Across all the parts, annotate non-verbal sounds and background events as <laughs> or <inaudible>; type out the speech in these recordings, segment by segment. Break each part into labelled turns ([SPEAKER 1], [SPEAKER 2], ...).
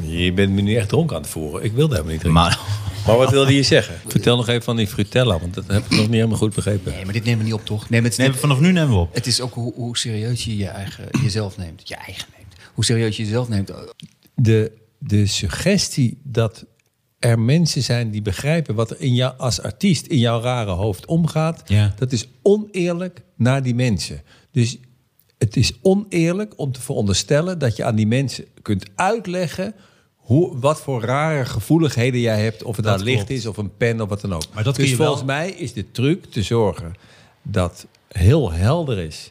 [SPEAKER 1] je bent me nu echt dronken aan het voeren. Ik wilde helemaal niet drinken.
[SPEAKER 2] Maar,
[SPEAKER 1] Maar wat wilde je zeggen? Vertel nog even van die frutella, want dat heb ik nog niet helemaal goed begrepen.
[SPEAKER 3] Nee, maar dit nemen we niet op, toch? Nee, maar het, is
[SPEAKER 2] nee,
[SPEAKER 3] net-
[SPEAKER 2] vanaf nu nemen we op.
[SPEAKER 3] het is ook hoe, hoe serieus je, je eigen, jezelf neemt. Je eigen neemt. Hoe serieus je jezelf neemt. Eh,
[SPEAKER 1] de, de suggestie dat er mensen zijn die begrijpen wat er in jou als artiest in jouw rare hoofd omgaat,
[SPEAKER 2] Ja.
[SPEAKER 1] dat is oneerlijk naar die mensen. Dus het is oneerlijk om te veronderstellen dat je aan die mensen kunt uitleggen hoe, wat voor rare gevoeligheden jij hebt, of het
[SPEAKER 2] Dat
[SPEAKER 1] aan licht
[SPEAKER 2] klopt.
[SPEAKER 1] is of een pen of wat dan ook.
[SPEAKER 2] Maar dat
[SPEAKER 1] dus
[SPEAKER 2] kun je wel-
[SPEAKER 1] volgens mij is de truc te zorgen dat heel helder is.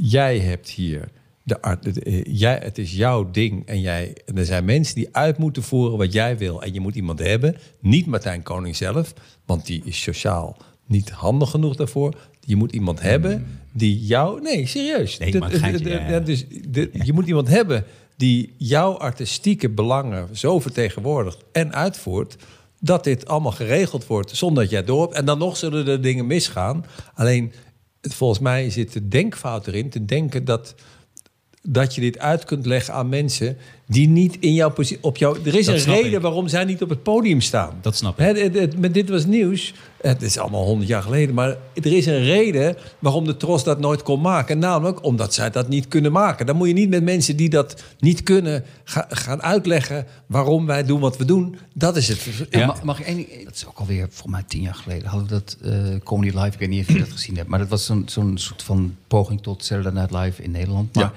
[SPEAKER 1] Jij hebt hier de art, het, eh, jij, het is jouw ding en jij. En er zijn mensen die uit moeten voeren wat jij wil en je moet iemand hebben. Niet Martijn Koning zelf, want die is sociaal niet handig genoeg daarvoor. Je moet iemand
[SPEAKER 2] Hmm.
[SPEAKER 1] hebben die jou. Nee, serieus.
[SPEAKER 2] Nee, ik
[SPEAKER 1] Dat-
[SPEAKER 2] maak een geintje,
[SPEAKER 1] dat-
[SPEAKER 2] ja, ja.
[SPEAKER 1] dat- dus de- je moet iemand hebben die jouw artistieke belangen zo vertegenwoordigt en uitvoert. dat dit allemaal geregeld wordt zonder dat jij door hebt. En dan nog zullen er dingen misgaan. Alleen het, volgens mij zit de denkfout erin te denken dat. Dat je dit uit kunt leggen aan mensen die niet in jouw positie. Op jou, er is
[SPEAKER 2] Dat
[SPEAKER 1] een
[SPEAKER 2] snap
[SPEAKER 1] reden
[SPEAKER 2] ik.
[SPEAKER 1] waarom zij niet op het podium staan.
[SPEAKER 2] Dat snap ik.
[SPEAKER 1] Hè, het- het- met dit was nieuws. Het is allemaal honderd jaar geleden. Maar er is een reden waarom de Tros dat nooit kon maken. Namelijk omdat zij dat niet kunnen maken. Dan moet je niet met mensen die dat niet kunnen ga- gaan uitleggen waarom wij doen wat we doen. Dat is het.
[SPEAKER 3] Ja. Mag, mag ik één ding- eh, Dat is ook alweer volgens mij tien jaar geleden. Hadden we dat eh, Comedy Live, ik weet niet of je dat gezien hebt. Maar dat was zo'n zo'n soort van poging tot Saturday Night Live in Nederland. Maar
[SPEAKER 1] Ja.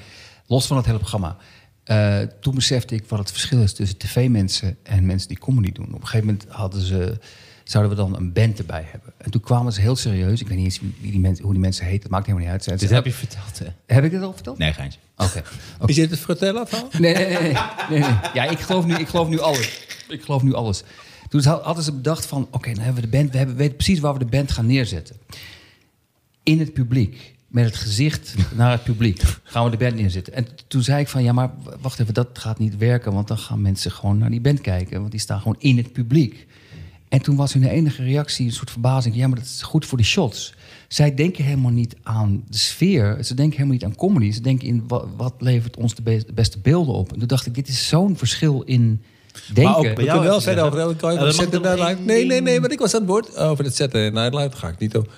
[SPEAKER 3] los van het hele programma. eh, toen besefte ik wat het verschil is tussen tv-mensen en mensen die comedy doen. Op een gegeven moment hadden ze, zouden we dan een band erbij hebben. En toen kwamen ze heel serieus. Ik weet niet eens wie wie die mensen, hoe die mensen heten. Dat maakt helemaal niet uit. Zeiden
[SPEAKER 2] Dit
[SPEAKER 3] ze,
[SPEAKER 2] heb je verteld, hè?
[SPEAKER 3] heb ik dat al verteld?
[SPEAKER 2] Nee, geintje.
[SPEAKER 3] Oké. Oké.
[SPEAKER 1] Is dit het vertellen van?
[SPEAKER 3] Nee, nee, nee, nee, nee, nee. Ja, ik geloof, nu, ik geloof nu alles. Ik geloof nu alles. Toen had- hadden ze bedacht van... oké, nou hebben we de band... we hebben, weten precies waar we de band gaan neerzetten. In het publiek. Met het gezicht naar het publiek. Gaan we de band neerzetten. En toen zei ik van... ja, maar w- wacht even, dat gaat niet werken... want dan gaan mensen gewoon naar die band kijken. Want die staan gewoon in het publiek. En toen was hun enige reactie een soort verbazing. Ja, maar dat is goed voor de shots. Zij denken helemaal niet aan de sfeer. Ze denken helemaal niet aan comedy. Ze denken in wat, wat levert ons de, be- de beste beelden op. En toen dacht ik, dit is zo'n verschil in denken.
[SPEAKER 2] ook bij
[SPEAKER 1] We
[SPEAKER 2] jou
[SPEAKER 1] kunnen wel
[SPEAKER 2] is het
[SPEAKER 1] verder over
[SPEAKER 2] zeggen.
[SPEAKER 1] Elke Kooi,
[SPEAKER 2] Ja,
[SPEAKER 1] maar
[SPEAKER 2] dat mag
[SPEAKER 1] Saturday
[SPEAKER 2] toch
[SPEAKER 1] Night
[SPEAKER 2] één
[SPEAKER 1] Live- Nee, nee,
[SPEAKER 2] ding?
[SPEAKER 1] nee, maar ik was aan het woord over het Saturday Night Live. Ga ik niet over.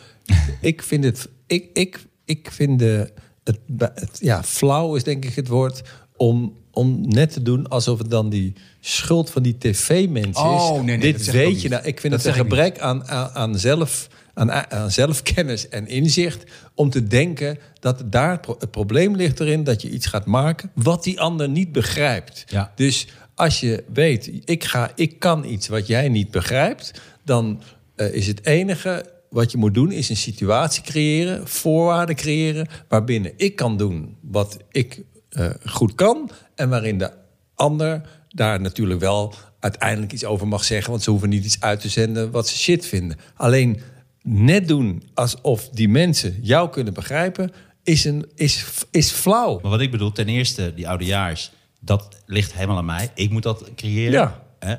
[SPEAKER 1] ik vind het... Ik, ik, ik vind de, het, het- Ja, flauw is denk ik het woord... om, om net te doen alsof het dan die schuld van die tv-mensen
[SPEAKER 3] Oh,
[SPEAKER 1] is.
[SPEAKER 3] nee, nee, dat
[SPEAKER 1] Dit
[SPEAKER 3] zeg ik ook
[SPEAKER 1] weet je
[SPEAKER 3] niet.
[SPEAKER 1] nou. Ik vind
[SPEAKER 3] Dat
[SPEAKER 1] het
[SPEAKER 3] zeg
[SPEAKER 1] een
[SPEAKER 3] ik niet.
[SPEAKER 1] gebrek aan, aan, aan zelf... Aan, aan zelfkennis en inzicht om te denken dat daar het pro- het probleem ligt erin dat je iets gaat maken wat die ander niet begrijpt.
[SPEAKER 2] Ja.
[SPEAKER 1] Dus als je weet, ik, ga, ik kan iets wat jij niet begrijpt, dan eh, is het enige wat je moet doen, is een situatie creëren, voorwaarden creëren, waarbinnen ik kan doen wat ik eh, goed kan en waarin de ander daar natuurlijk wel uiteindelijk iets over mag zeggen, want ze hoeven niet iets uit te zenden wat ze shit vinden. Alleen net doen alsof die mensen jou kunnen begrijpen, is, een, is, is flauw.
[SPEAKER 2] Maar wat ik bedoel, ten eerste, die oudejaars, dat ligt helemaal aan mij. Ik moet dat creëren.
[SPEAKER 1] Ja.
[SPEAKER 2] Hè?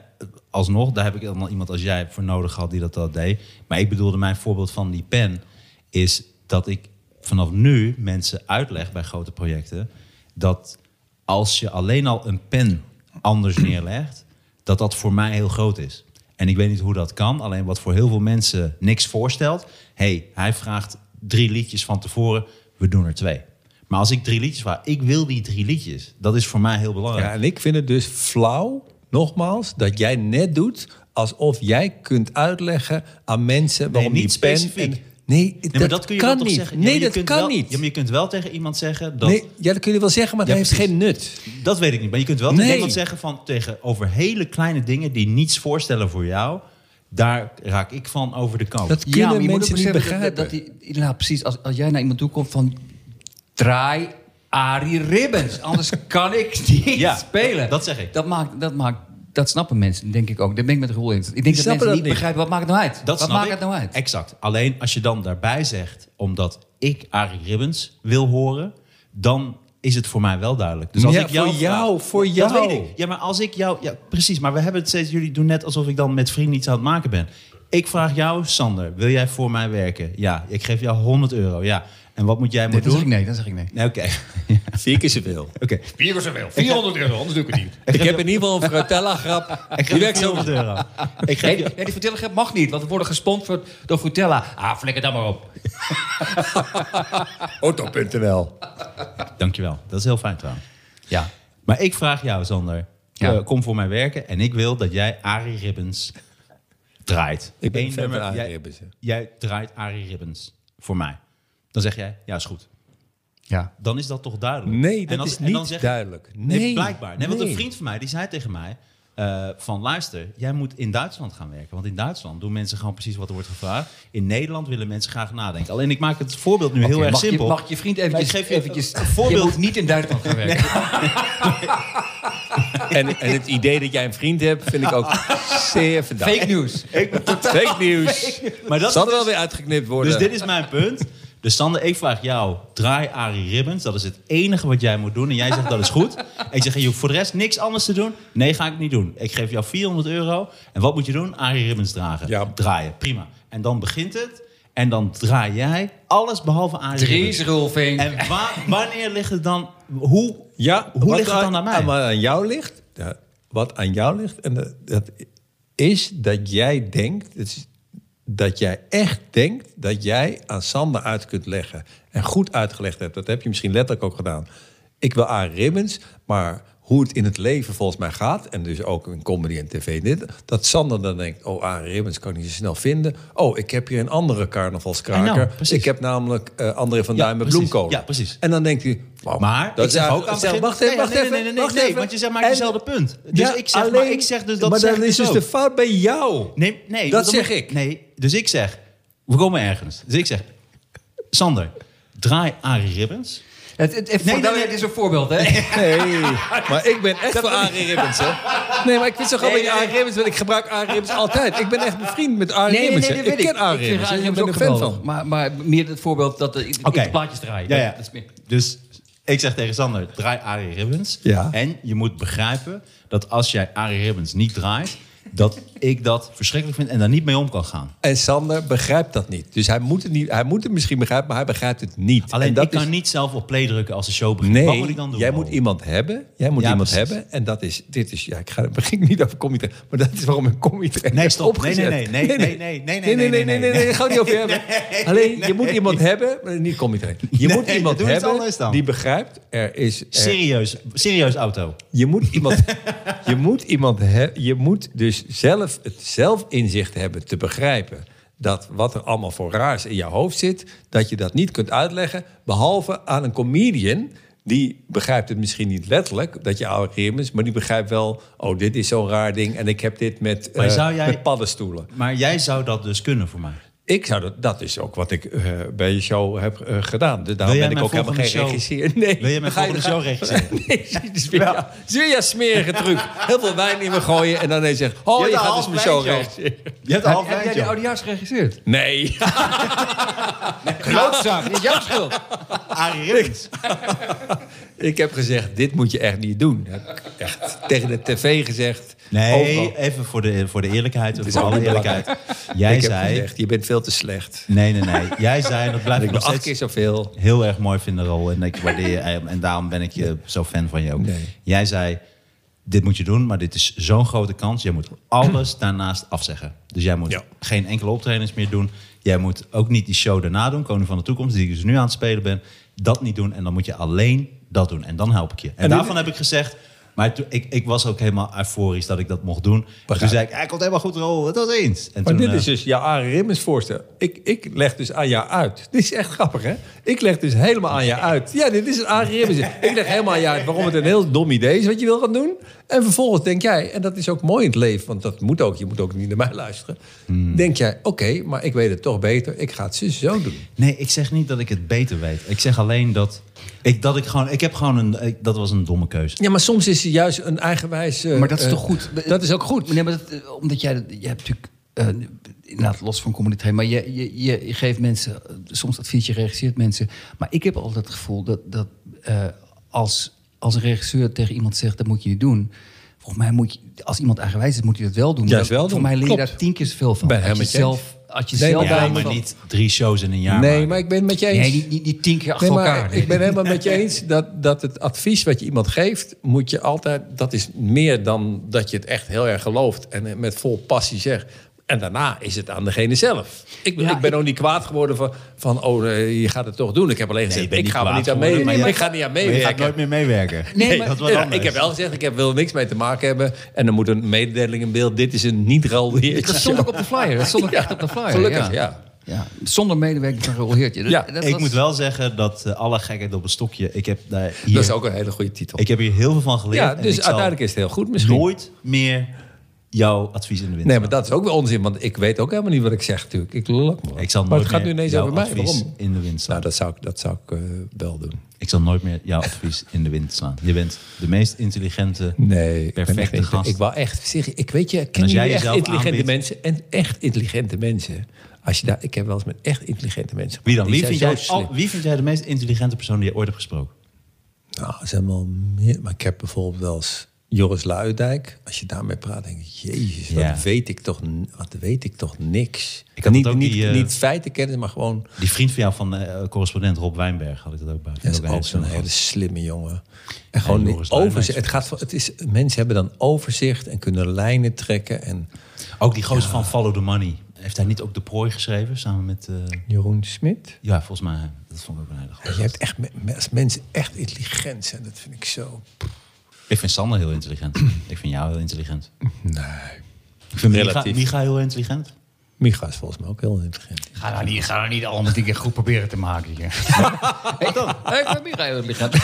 [SPEAKER 2] Alsnog, daar heb ik helemaal iemand als jij voor nodig gehad die dat, dat deed. Maar ik bedoelde, mijn voorbeeld van die pen is dat ik vanaf nu mensen uitleg bij grote projecten dat als je alleen al een pen anders neerlegt, dat dat voor mij heel groot is. En ik weet niet hoe dat kan, alleen wat voor heel veel mensen niks voorstelt. hey, hij vraagt drie liedjes van tevoren, we doen er twee. Maar als ik drie liedjes vraag, ik wil die drie liedjes. Dat is voor mij heel belangrijk.
[SPEAKER 1] Ja, en ik vind het dus flauw, nogmaals, dat jij net doet alsof jij kunt uitleggen aan mensen waarom
[SPEAKER 2] niet
[SPEAKER 1] die pen...
[SPEAKER 2] specifiek.
[SPEAKER 1] nee, dat,
[SPEAKER 2] Nee, maar dat kun je wel
[SPEAKER 1] kan
[SPEAKER 2] toch
[SPEAKER 1] niet.
[SPEAKER 2] zeggen? Ja,
[SPEAKER 1] Nee,
[SPEAKER 2] maar je
[SPEAKER 1] dat
[SPEAKER 2] kunt
[SPEAKER 1] kan
[SPEAKER 2] wel-
[SPEAKER 1] niet.
[SPEAKER 2] Ja, maar je kunt wel tegen iemand zeggen dat...
[SPEAKER 1] nee, ja, dat kun je wel zeggen, maar
[SPEAKER 2] Ja,
[SPEAKER 1] dat heeft
[SPEAKER 2] precies.
[SPEAKER 1] geen nut.
[SPEAKER 2] Dat weet ik niet. Maar je kunt wel
[SPEAKER 1] Nee.
[SPEAKER 2] tegen iemand zeggen van tegen over hele kleine dingen die niets voorstellen voor jou. Daar raak ik van over de kant.
[SPEAKER 1] Dat
[SPEAKER 3] Ja,
[SPEAKER 1] kunnen
[SPEAKER 3] maar je moet
[SPEAKER 1] mensen
[SPEAKER 3] ook
[SPEAKER 1] niet
[SPEAKER 3] beseffen
[SPEAKER 1] begrijpen.
[SPEAKER 3] dat, dat die, inderdaad, precies. Als, als jij naar iemand toe komt van... Draai Arie
[SPEAKER 2] <laughs>
[SPEAKER 3] Ribbons. Anders kan ik niet
[SPEAKER 2] Ja,
[SPEAKER 3] spelen.
[SPEAKER 2] dat zeg ik.
[SPEAKER 3] Dat maakt... Dat maakt dat snappen mensen, denk ik ook. Daar ben ik met Roel eens. Ik denk dat
[SPEAKER 1] snappen
[SPEAKER 3] mensen
[SPEAKER 1] dat
[SPEAKER 3] niet
[SPEAKER 1] niet.
[SPEAKER 3] begrijpen, wat maakt het nou uit?
[SPEAKER 2] Dat
[SPEAKER 3] wat
[SPEAKER 2] snap
[SPEAKER 3] maakt
[SPEAKER 2] ik.
[SPEAKER 3] het nou uit?
[SPEAKER 2] Exact. Alleen als je dan daarbij zegt, omdat ik Arie Ribbons wil horen, dan is het voor mij wel duidelijk. Dus als
[SPEAKER 1] Ja,
[SPEAKER 2] ik jou
[SPEAKER 1] voor
[SPEAKER 2] vraag-
[SPEAKER 1] jou, voor jou.
[SPEAKER 2] Dat weet ik. Ja, maar als ik jou... Ja, precies. Maar we hebben het steeds... Jullie doen net alsof ik dan met vrienden iets aan het maken ben. Ik vraag jou, Sander, wil jij voor mij werken? Ja. Ik geef jou 100 euro. Ja. En wat moet jij maar
[SPEAKER 3] Nee, dat zeg ik
[SPEAKER 2] doen?
[SPEAKER 3] nee, dat zeg ik nee.
[SPEAKER 2] Nee, Oké, <laughs>
[SPEAKER 1] Vier keer zoveel.
[SPEAKER 2] oké. Nou,
[SPEAKER 3] 400 euro, anders doe ik het niet.
[SPEAKER 1] Ik heb in ieder geval een
[SPEAKER 2] <laughs>
[SPEAKER 1] fratella-grap. Die werkt zo.
[SPEAKER 2] 400 euro. Ik geef
[SPEAKER 3] Nee,
[SPEAKER 2] je-
[SPEAKER 3] die- nee, die Frutella mag niet, want we worden gesponsord door Frutella. Ah, flikker dan maar op.
[SPEAKER 1] Auto.nl.
[SPEAKER 2] Dankjewel, dat is heel fijn trouwens.
[SPEAKER 3] Ja.
[SPEAKER 2] Maar ik vraag jou, Sander.
[SPEAKER 3] Ja.
[SPEAKER 2] eh, kom voor mij werken en ik wil dat jij Arie Ribbons draait.
[SPEAKER 1] Ik ben
[SPEAKER 2] Eén
[SPEAKER 1] fan van
[SPEAKER 2] nummer,
[SPEAKER 1] Arie
[SPEAKER 2] jij-
[SPEAKER 1] Ribbons, hè.
[SPEAKER 2] Jij draait Arie Ribbons voor mij. Dan zeg jij, ja, is goed.
[SPEAKER 3] Ja.
[SPEAKER 2] Dan is dat toch duidelijk?
[SPEAKER 1] Nee,
[SPEAKER 2] En
[SPEAKER 1] dat
[SPEAKER 2] dan-
[SPEAKER 1] is
[SPEAKER 2] en
[SPEAKER 1] niet
[SPEAKER 2] dan zeg-
[SPEAKER 1] duidelijk.
[SPEAKER 2] Nee,
[SPEAKER 1] Nee,
[SPEAKER 2] blijkbaar. Nee, want een
[SPEAKER 1] nee.
[SPEAKER 2] vriend van mij die zei tegen mij: eh, van luister, jij moet in Duitsland gaan werken. Want in Duitsland doen mensen gewoon precies wat er wordt gevraagd. In Nederland willen mensen graag nadenken. Alleen ik maak het voorbeeld nu heel
[SPEAKER 3] Oké,
[SPEAKER 2] erg
[SPEAKER 3] mag
[SPEAKER 2] simpel.
[SPEAKER 3] Je, mag je vriend eventjes,
[SPEAKER 2] Maar ik geef je
[SPEAKER 3] eventjes
[SPEAKER 2] een voorbeeld.
[SPEAKER 3] Je moet niet in Duitsland gaan werken.
[SPEAKER 1] En, en het idee dat jij een vriend hebt, vind ik
[SPEAKER 2] <laughs>
[SPEAKER 1] ook zeer verdacht.
[SPEAKER 3] Fake news.
[SPEAKER 1] Fake nieuws.
[SPEAKER 2] Maar dat is
[SPEAKER 1] Zal er
[SPEAKER 2] dus-
[SPEAKER 1] wel weer uitgeknipt worden.
[SPEAKER 2] Dus dit is mijn punt. <laughs> Dus Sander, ik vraag jou, draai Arie Ribbons. Dat is het enige wat jij moet doen. En jij zegt, dat is goed. En ik zeg, je hoeft voor de rest niks anders te doen. Nee, ga ik niet doen. Ik geef jou 400 euro. En wat moet je doen? Arie Ribbons dragen.
[SPEAKER 1] Ja.
[SPEAKER 2] Draaien, prima. En dan begint het. En dan draai jij alles behalve Arie
[SPEAKER 3] Dries
[SPEAKER 2] Ribbons.
[SPEAKER 3] Rolfing.
[SPEAKER 2] En wa- wanneer ligt het dan... Hoe,
[SPEAKER 1] Ja,
[SPEAKER 2] hoe
[SPEAKER 1] wat
[SPEAKER 2] ligt het
[SPEAKER 1] aan-
[SPEAKER 2] dan aan mij?
[SPEAKER 1] aan- Wat aan jou ligt, ja, wat aan jou ligt, en dat, dat is dat jij denkt, het is, dat jij echt denkt dat jij aan Sander uit kunt leggen. En goed uitgelegd hebt, dat heb je misschien letterlijk ook gedaan. Ik wil aan ribbons, maar hoe het in het leven volgens mij gaat, en dus ook in comedy en tv, dit, dat Sander dan denkt, oh, aan ribbons kan ik niet zo snel vinden. Oh, ik heb hier een andere carnavalskraker.
[SPEAKER 2] I know, precies.
[SPEAKER 1] ik heb namelijk eh, André van
[SPEAKER 2] Ja,
[SPEAKER 1] Duin met
[SPEAKER 2] precies.
[SPEAKER 1] bloemkool.
[SPEAKER 2] Ja, precies.
[SPEAKER 1] En dan denkt hij, wauw,
[SPEAKER 2] Maar
[SPEAKER 1] dat
[SPEAKER 2] ik zeg
[SPEAKER 1] is
[SPEAKER 2] ook aan het
[SPEAKER 1] zeg,
[SPEAKER 2] begin-
[SPEAKER 1] Wacht even,
[SPEAKER 2] Nee,
[SPEAKER 1] wacht
[SPEAKER 2] nee,
[SPEAKER 1] even.
[SPEAKER 2] Nee, nee, nee,
[SPEAKER 1] wacht
[SPEAKER 2] nee,
[SPEAKER 1] even.
[SPEAKER 2] want je zegt maar
[SPEAKER 1] En-
[SPEAKER 2] hetzelfde punt. Dus
[SPEAKER 1] Ja,
[SPEAKER 2] ik zeg, maar
[SPEAKER 1] alleen-
[SPEAKER 2] ik zeg dus dat
[SPEAKER 1] Maar
[SPEAKER 2] zeg
[SPEAKER 1] dan
[SPEAKER 2] ik
[SPEAKER 1] is dus
[SPEAKER 2] ook.
[SPEAKER 1] de fout bij jou.
[SPEAKER 2] Nee, nee.
[SPEAKER 1] Dat
[SPEAKER 2] dan
[SPEAKER 1] zeg
[SPEAKER 2] moet-
[SPEAKER 1] ik.
[SPEAKER 2] Nee, dus ik zeg, we komen ergens. Dus ik zeg, Sander, draai Arie Ribbons.
[SPEAKER 3] Het, het, het,
[SPEAKER 2] Nee, nee,
[SPEAKER 3] nou,
[SPEAKER 2] nee.
[SPEAKER 3] dit is een voorbeeld, <laughs> hè?
[SPEAKER 1] Nee, <laughs> maar ik ben echt voor Arie Ribbons, hè? Nee, maar <laughs> ik vind het zo grappig
[SPEAKER 2] Nee,
[SPEAKER 1] dat je
[SPEAKER 2] nee,
[SPEAKER 1] Arie Ribbons... want ik gebruik Arie Ribbons altijd. Ik ben echt bevriend met Arie
[SPEAKER 3] Nee, nee,
[SPEAKER 1] Ribbons.
[SPEAKER 3] nee,
[SPEAKER 1] hè.
[SPEAKER 3] dat weet ik.
[SPEAKER 1] ken Arie
[SPEAKER 3] vind
[SPEAKER 1] Ribbons. hè. Ik
[SPEAKER 3] Ribbons
[SPEAKER 1] ben
[SPEAKER 3] ook
[SPEAKER 1] er fan
[SPEAKER 3] geweldig.
[SPEAKER 1] van.
[SPEAKER 3] Maar, maar meer het voorbeeld dat de,
[SPEAKER 2] Oké.
[SPEAKER 3] de plaatjes draaien.
[SPEAKER 2] Ja, ja.
[SPEAKER 3] Dat is meer.
[SPEAKER 2] Dus ik zeg tegen Sander, draai Arie Ribbons.
[SPEAKER 1] Ja.
[SPEAKER 2] En je moet begrijpen dat als jij Arie Ribbons niet draait... dat ik dat verschrikkelijk vind en daar niet mee om kan gaan.
[SPEAKER 1] En Sander begrijpt dat niet. Dus hij moet het, niet, hij moet het misschien begrijpen, maar hij begrijpt het niet.
[SPEAKER 2] Alleen
[SPEAKER 1] en dat
[SPEAKER 2] ik kan
[SPEAKER 1] is-
[SPEAKER 2] niet zelf op play drukken als de show begint. Wat
[SPEAKER 1] Nee,
[SPEAKER 2] moet ik dan doen?
[SPEAKER 1] jij
[SPEAKER 2] Paul?
[SPEAKER 1] moet iemand hebben. Jij moet
[SPEAKER 2] Ja,
[SPEAKER 1] iemand
[SPEAKER 2] precies.
[SPEAKER 1] hebben. En dat is, dit is, ja, ik ga, <laughs> begin niet over comedy trainen, maar dat is waarom ik comedy trainen
[SPEAKER 2] Nee,
[SPEAKER 1] heb
[SPEAKER 2] stop. Nee,
[SPEAKER 1] opgezet.
[SPEAKER 2] nee, nee, nee, nee, nee, nee,
[SPEAKER 1] nee, nee, nee, nee, nee, ga niet
[SPEAKER 2] <laughs>
[SPEAKER 1] over hebben. Alleen, je moet iemand hebben, maar niet comedy trainen. Je
[SPEAKER 2] Nee,
[SPEAKER 1] moet iemand
[SPEAKER 2] doe iets
[SPEAKER 1] hebben
[SPEAKER 2] anders dan.
[SPEAKER 1] die begrijpt, er is, er,
[SPEAKER 2] Serieus, serieus auto.
[SPEAKER 1] je moet iemand, je moet iemand hebben, je moet dus zelf het zelfinzicht hebben te begrijpen dat wat er allemaal voor raars in je hoofd zit, dat je dat niet kunt uitleggen, behalve aan een comedian. Die begrijpt het misschien niet letterlijk, dat je oude Grimm is, maar die begrijpt wel, oh, dit is zo'n raar ding en ik heb dit met,
[SPEAKER 2] Maar
[SPEAKER 1] eh,
[SPEAKER 2] zou jij-
[SPEAKER 1] met paddenstoelen.
[SPEAKER 2] Maar jij zou dat dus kunnen voor mij.
[SPEAKER 1] Ik zou dat, dat is ook wat ik eh, bij je show heb eh, gedaan. Dus daarom
[SPEAKER 2] Wil jij
[SPEAKER 1] ben ik
[SPEAKER 2] mijn
[SPEAKER 1] ook helemaal geen
[SPEAKER 2] volgende show-
[SPEAKER 1] regisseur. <laughs> Nee,
[SPEAKER 2] Wil jij mijn
[SPEAKER 1] Dan ga je-
[SPEAKER 2] volgende show regisseren?
[SPEAKER 1] <laughs> Nee, het is weer, ja, het is weer jouw smerige truc. Heel veel wijn in me gooien en dan ineens zeggen...
[SPEAKER 2] Je
[SPEAKER 1] Oh, je,
[SPEAKER 2] hebt een
[SPEAKER 1] gaat
[SPEAKER 2] half
[SPEAKER 1] dus mijn show
[SPEAKER 2] wijntje.
[SPEAKER 1] recht.
[SPEAKER 2] Je hebt een
[SPEAKER 3] Heb,
[SPEAKER 2] half
[SPEAKER 3] heb jij
[SPEAKER 2] wijntje
[SPEAKER 3] die
[SPEAKER 2] op.
[SPEAKER 3] oudejaars geregisseerd?
[SPEAKER 1] Nee. <laughs>
[SPEAKER 3] Klootzak, dit is jouw schuld.
[SPEAKER 2] Arie Ribbons.
[SPEAKER 1] Ik heb gezegd, dit moet je echt niet doen. Echt tegen de tv gezegd.
[SPEAKER 2] Nee,
[SPEAKER 1] overal.
[SPEAKER 2] even voor de, voor de eerlijkheid, en
[SPEAKER 1] is
[SPEAKER 2] voor
[SPEAKER 1] ook
[SPEAKER 2] alle
[SPEAKER 1] niet
[SPEAKER 2] eerlijkheid. Jij
[SPEAKER 1] ik heb
[SPEAKER 2] zei...
[SPEAKER 1] gezegd, je bent veel te slecht.
[SPEAKER 2] Nee, nee, nee. Jij zei, en dat blijf
[SPEAKER 1] Ik
[SPEAKER 2] ik
[SPEAKER 1] ben
[SPEAKER 2] nog
[SPEAKER 1] acht keer
[SPEAKER 2] steeds
[SPEAKER 1] zoveel.
[SPEAKER 2] heel erg mooi vinden, Rol. En ik waardeer je, en daarom ben ik je zo fan van je ook.
[SPEAKER 1] Nee.
[SPEAKER 2] Jij zei, dit moet je doen, maar dit is zo'n grote kans. Jij moet alles <clears throat> daarnaast afzeggen. Dus jij moet
[SPEAKER 1] Ja.
[SPEAKER 2] geen enkele optredens meer doen. Jij moet ook niet die show daarna doen, Koning van de Toekomst, die ik dus nu aan het spelen ben. Dat niet doen en dan moet je alleen dat doen. En dan help ik je. En, daarvan heb ik gezegd... Maar toen- ik, ik was ook helemaal euforisch dat ik dat mocht doen. Toen
[SPEAKER 1] Begrijp.
[SPEAKER 2] zei ik, hij komt helemaal goed rol, het was eens. En
[SPEAKER 1] Maar
[SPEAKER 2] toen,
[SPEAKER 1] dit
[SPEAKER 2] eh,
[SPEAKER 1] is dus jouw Arie Rimmens voorstel. Ik, ik leg dus aan jou uit. <laughs> Dit is echt grappig, hè? Ik leg dus helemaal aan jou uit. Ja, dit is het Arie Rimmens. Ik leg helemaal aan jou uit waarom het een heel dom idee is wat je wil gaan doen. En vervolgens denk jij, en dat is ook mooi in het leven... want dat moet ook, je moet ook niet naar mij luisteren.
[SPEAKER 3] Hmm.
[SPEAKER 1] Denk jij, oké, maar ik weet het toch beter. Ik ga het zus zo doen.
[SPEAKER 2] Nee, ik zeg niet dat ik het beter weet. Ik zeg alleen dat ik, dat ik gewoon... Ik heb gewoon een... ik- dat was een domme keuze.
[SPEAKER 1] Ja, maar soms is het juist een eigenwijs... eh,
[SPEAKER 3] Maar dat is toch
[SPEAKER 1] eh,
[SPEAKER 3] goed?
[SPEAKER 1] Dat is ook goed.
[SPEAKER 3] Nee, maar dat, eh, omdat jij, dat- jij hebt natuurlijk, eh, inderdaad los van comedy train, maar je, je, je, je geeft mensen eh, soms advies, je regisseert mensen. Maar ik heb altijd het gevoel dat, dat eh, als, als een regisseur tegen iemand zegt, dat moet je niet doen. Volgens mij moet je, als iemand eigenwijs is, moet je dat wel doen.
[SPEAKER 1] Juist
[SPEAKER 3] Maar
[SPEAKER 1] wel
[SPEAKER 3] Voor
[SPEAKER 1] doen,
[SPEAKER 3] mij leer je
[SPEAKER 1] klopt.
[SPEAKER 3] daar tien keer zoveel van.
[SPEAKER 1] Ben
[SPEAKER 3] Als je
[SPEAKER 1] helemaal met je
[SPEAKER 3] zelf had je
[SPEAKER 1] Nee,
[SPEAKER 3] zelf
[SPEAKER 1] maar
[SPEAKER 2] Ja,
[SPEAKER 1] wij-
[SPEAKER 2] maar niet drie shows in een jaar
[SPEAKER 1] Nee,
[SPEAKER 2] maken.
[SPEAKER 1] maar ik ben het met je eens.
[SPEAKER 3] Nee, niet, niet, niet tien keer achter
[SPEAKER 1] Nee, maar
[SPEAKER 3] elkaar.
[SPEAKER 1] ik ben helemaal met je eens dat, dat het advies wat je iemand geeft, moet je altijd. Dat is meer dan dat je het echt heel erg gelooft en eh, met vol passie zegt. En daarna is het aan degene zelf. Ik,
[SPEAKER 3] Ja,
[SPEAKER 1] ik ben ook niet kwaad geworden van, van oh, eh, je gaat het toch doen. Ik heb alleen gezegd,
[SPEAKER 2] je bent
[SPEAKER 1] ik
[SPEAKER 2] niet
[SPEAKER 1] ga er
[SPEAKER 2] kwaad
[SPEAKER 1] niet aan mee.
[SPEAKER 2] geworden, maar je-
[SPEAKER 1] ik ga niet aan mee.
[SPEAKER 2] Maar je gaat nooit meer meewerken.
[SPEAKER 3] Nee, maar-
[SPEAKER 2] dat was
[SPEAKER 1] Ja,
[SPEAKER 2] anders.
[SPEAKER 1] ik heb wel gezegd, ik heb, wil niks mee te maken hebben. En dan moet een mededeling in beeld. Dit is een niet-roldeertje.
[SPEAKER 3] Dat stond ook op de flyer. Dat stond ook echt op de flyer.
[SPEAKER 1] Gelukkig, <laughs> ja.
[SPEAKER 3] Ja, Zonder medewerking van Roel Heertje. Dat-
[SPEAKER 1] Ja,
[SPEAKER 3] dat
[SPEAKER 2] ik
[SPEAKER 3] was-
[SPEAKER 2] moet wel zeggen dat eh, alle gekheid op een stokje. Ik heb, daar hier,
[SPEAKER 1] Dat is ook een hele goede titel.
[SPEAKER 2] ik heb hier heel veel van geleerd.
[SPEAKER 1] ja,
[SPEAKER 2] en
[SPEAKER 1] dus
[SPEAKER 2] ik zal
[SPEAKER 1] uiteindelijk is het heel goed misschien.
[SPEAKER 2] nooit meer jouw advies in de wind.
[SPEAKER 1] Nee, maar dat is ook wel onzin, want ik weet ook helemaal niet wat ik zeg natuurlijk. Ik lul ook maar.
[SPEAKER 2] ik zal
[SPEAKER 1] maar
[SPEAKER 2] nooit
[SPEAKER 1] het gaat
[SPEAKER 2] meer
[SPEAKER 1] nu ineens
[SPEAKER 2] jouw
[SPEAKER 1] over mij.
[SPEAKER 2] advies
[SPEAKER 1] Waarom?
[SPEAKER 2] in de wind slaan.
[SPEAKER 1] Nou, dat zou ik, dat zou ik eh, wel doen.
[SPEAKER 2] Ik zal nooit meer jouw advies in de wind slaan. Je bent de meest intelligente.
[SPEAKER 1] Nee, ik ben
[SPEAKER 2] Perfecte
[SPEAKER 1] echt niet-
[SPEAKER 2] gast.
[SPEAKER 1] Ik wou echt, zeg, ik weet je, ken
[SPEAKER 2] als
[SPEAKER 1] je
[SPEAKER 2] jij
[SPEAKER 1] echt
[SPEAKER 2] jezelf
[SPEAKER 1] intelligente
[SPEAKER 2] aanbiedt-
[SPEAKER 1] mensen? En echt intelligente mensen. Als je daar, ik heb wel eens met echt intelligente mensen.
[SPEAKER 2] Wie dan?
[SPEAKER 1] Die
[SPEAKER 2] Wie vind,
[SPEAKER 1] zijn
[SPEAKER 2] jij,
[SPEAKER 1] zo slim.
[SPEAKER 2] al- wie vind jij de meest intelligente persoon die je ooit hebt gesproken?
[SPEAKER 1] Nou, er zijn wel meer. Maar ik heb bijvoorbeeld wel eens Joris Luidijk. Als je daarmee praat, denk ik, jezus, wat,
[SPEAKER 2] Ja.
[SPEAKER 1] weet, ik toch, n- wat weet ik toch niks.
[SPEAKER 2] Ik had
[SPEAKER 1] niet,
[SPEAKER 2] dat ook
[SPEAKER 1] niet,
[SPEAKER 2] die, eh,
[SPEAKER 1] niet feitenkennis, maar gewoon...
[SPEAKER 2] Die vriend van jou van eh, correspondent Rob Wijnberg had ik dat ook bij.
[SPEAKER 1] Dat
[SPEAKER 2] Vind
[SPEAKER 1] is
[SPEAKER 2] ik
[SPEAKER 1] ook
[SPEAKER 2] een
[SPEAKER 1] zo'n
[SPEAKER 2] hele
[SPEAKER 1] hele slimme jongen. En gewoon
[SPEAKER 2] Joris
[SPEAKER 1] die
[SPEAKER 2] Luijendijk.
[SPEAKER 1] overzicht. Het gaat, van- het is, mensen hebben dan overzicht en kunnen lijnen trekken. En
[SPEAKER 2] slimme. Ook die gozer van Follow the Money. Heeft hij niet ook De Prooi geschreven samen met... eh,
[SPEAKER 1] Jeroen Smit.
[SPEAKER 2] ja, volgens mij. Dat vond ik ook een hele goeie.
[SPEAKER 1] Je hebt echt, me- als mensen echt intelligent zijn, dat vind ik zo.
[SPEAKER 2] Ik vind Sander heel intelligent. <clears throat> ik vind jou heel intelligent.
[SPEAKER 1] Nee.
[SPEAKER 2] Ik vind Micha,
[SPEAKER 1] Relatief.
[SPEAKER 2] Micha heel intelligent.
[SPEAKER 1] Micha is volgens mij ook heel intelligent.
[SPEAKER 3] Ga nou niet, ga nou niet allemaal dingen goed proberen te maken
[SPEAKER 2] <laughs>
[SPEAKER 3] hier. Wat dan? Ik ben niet heel intelligent.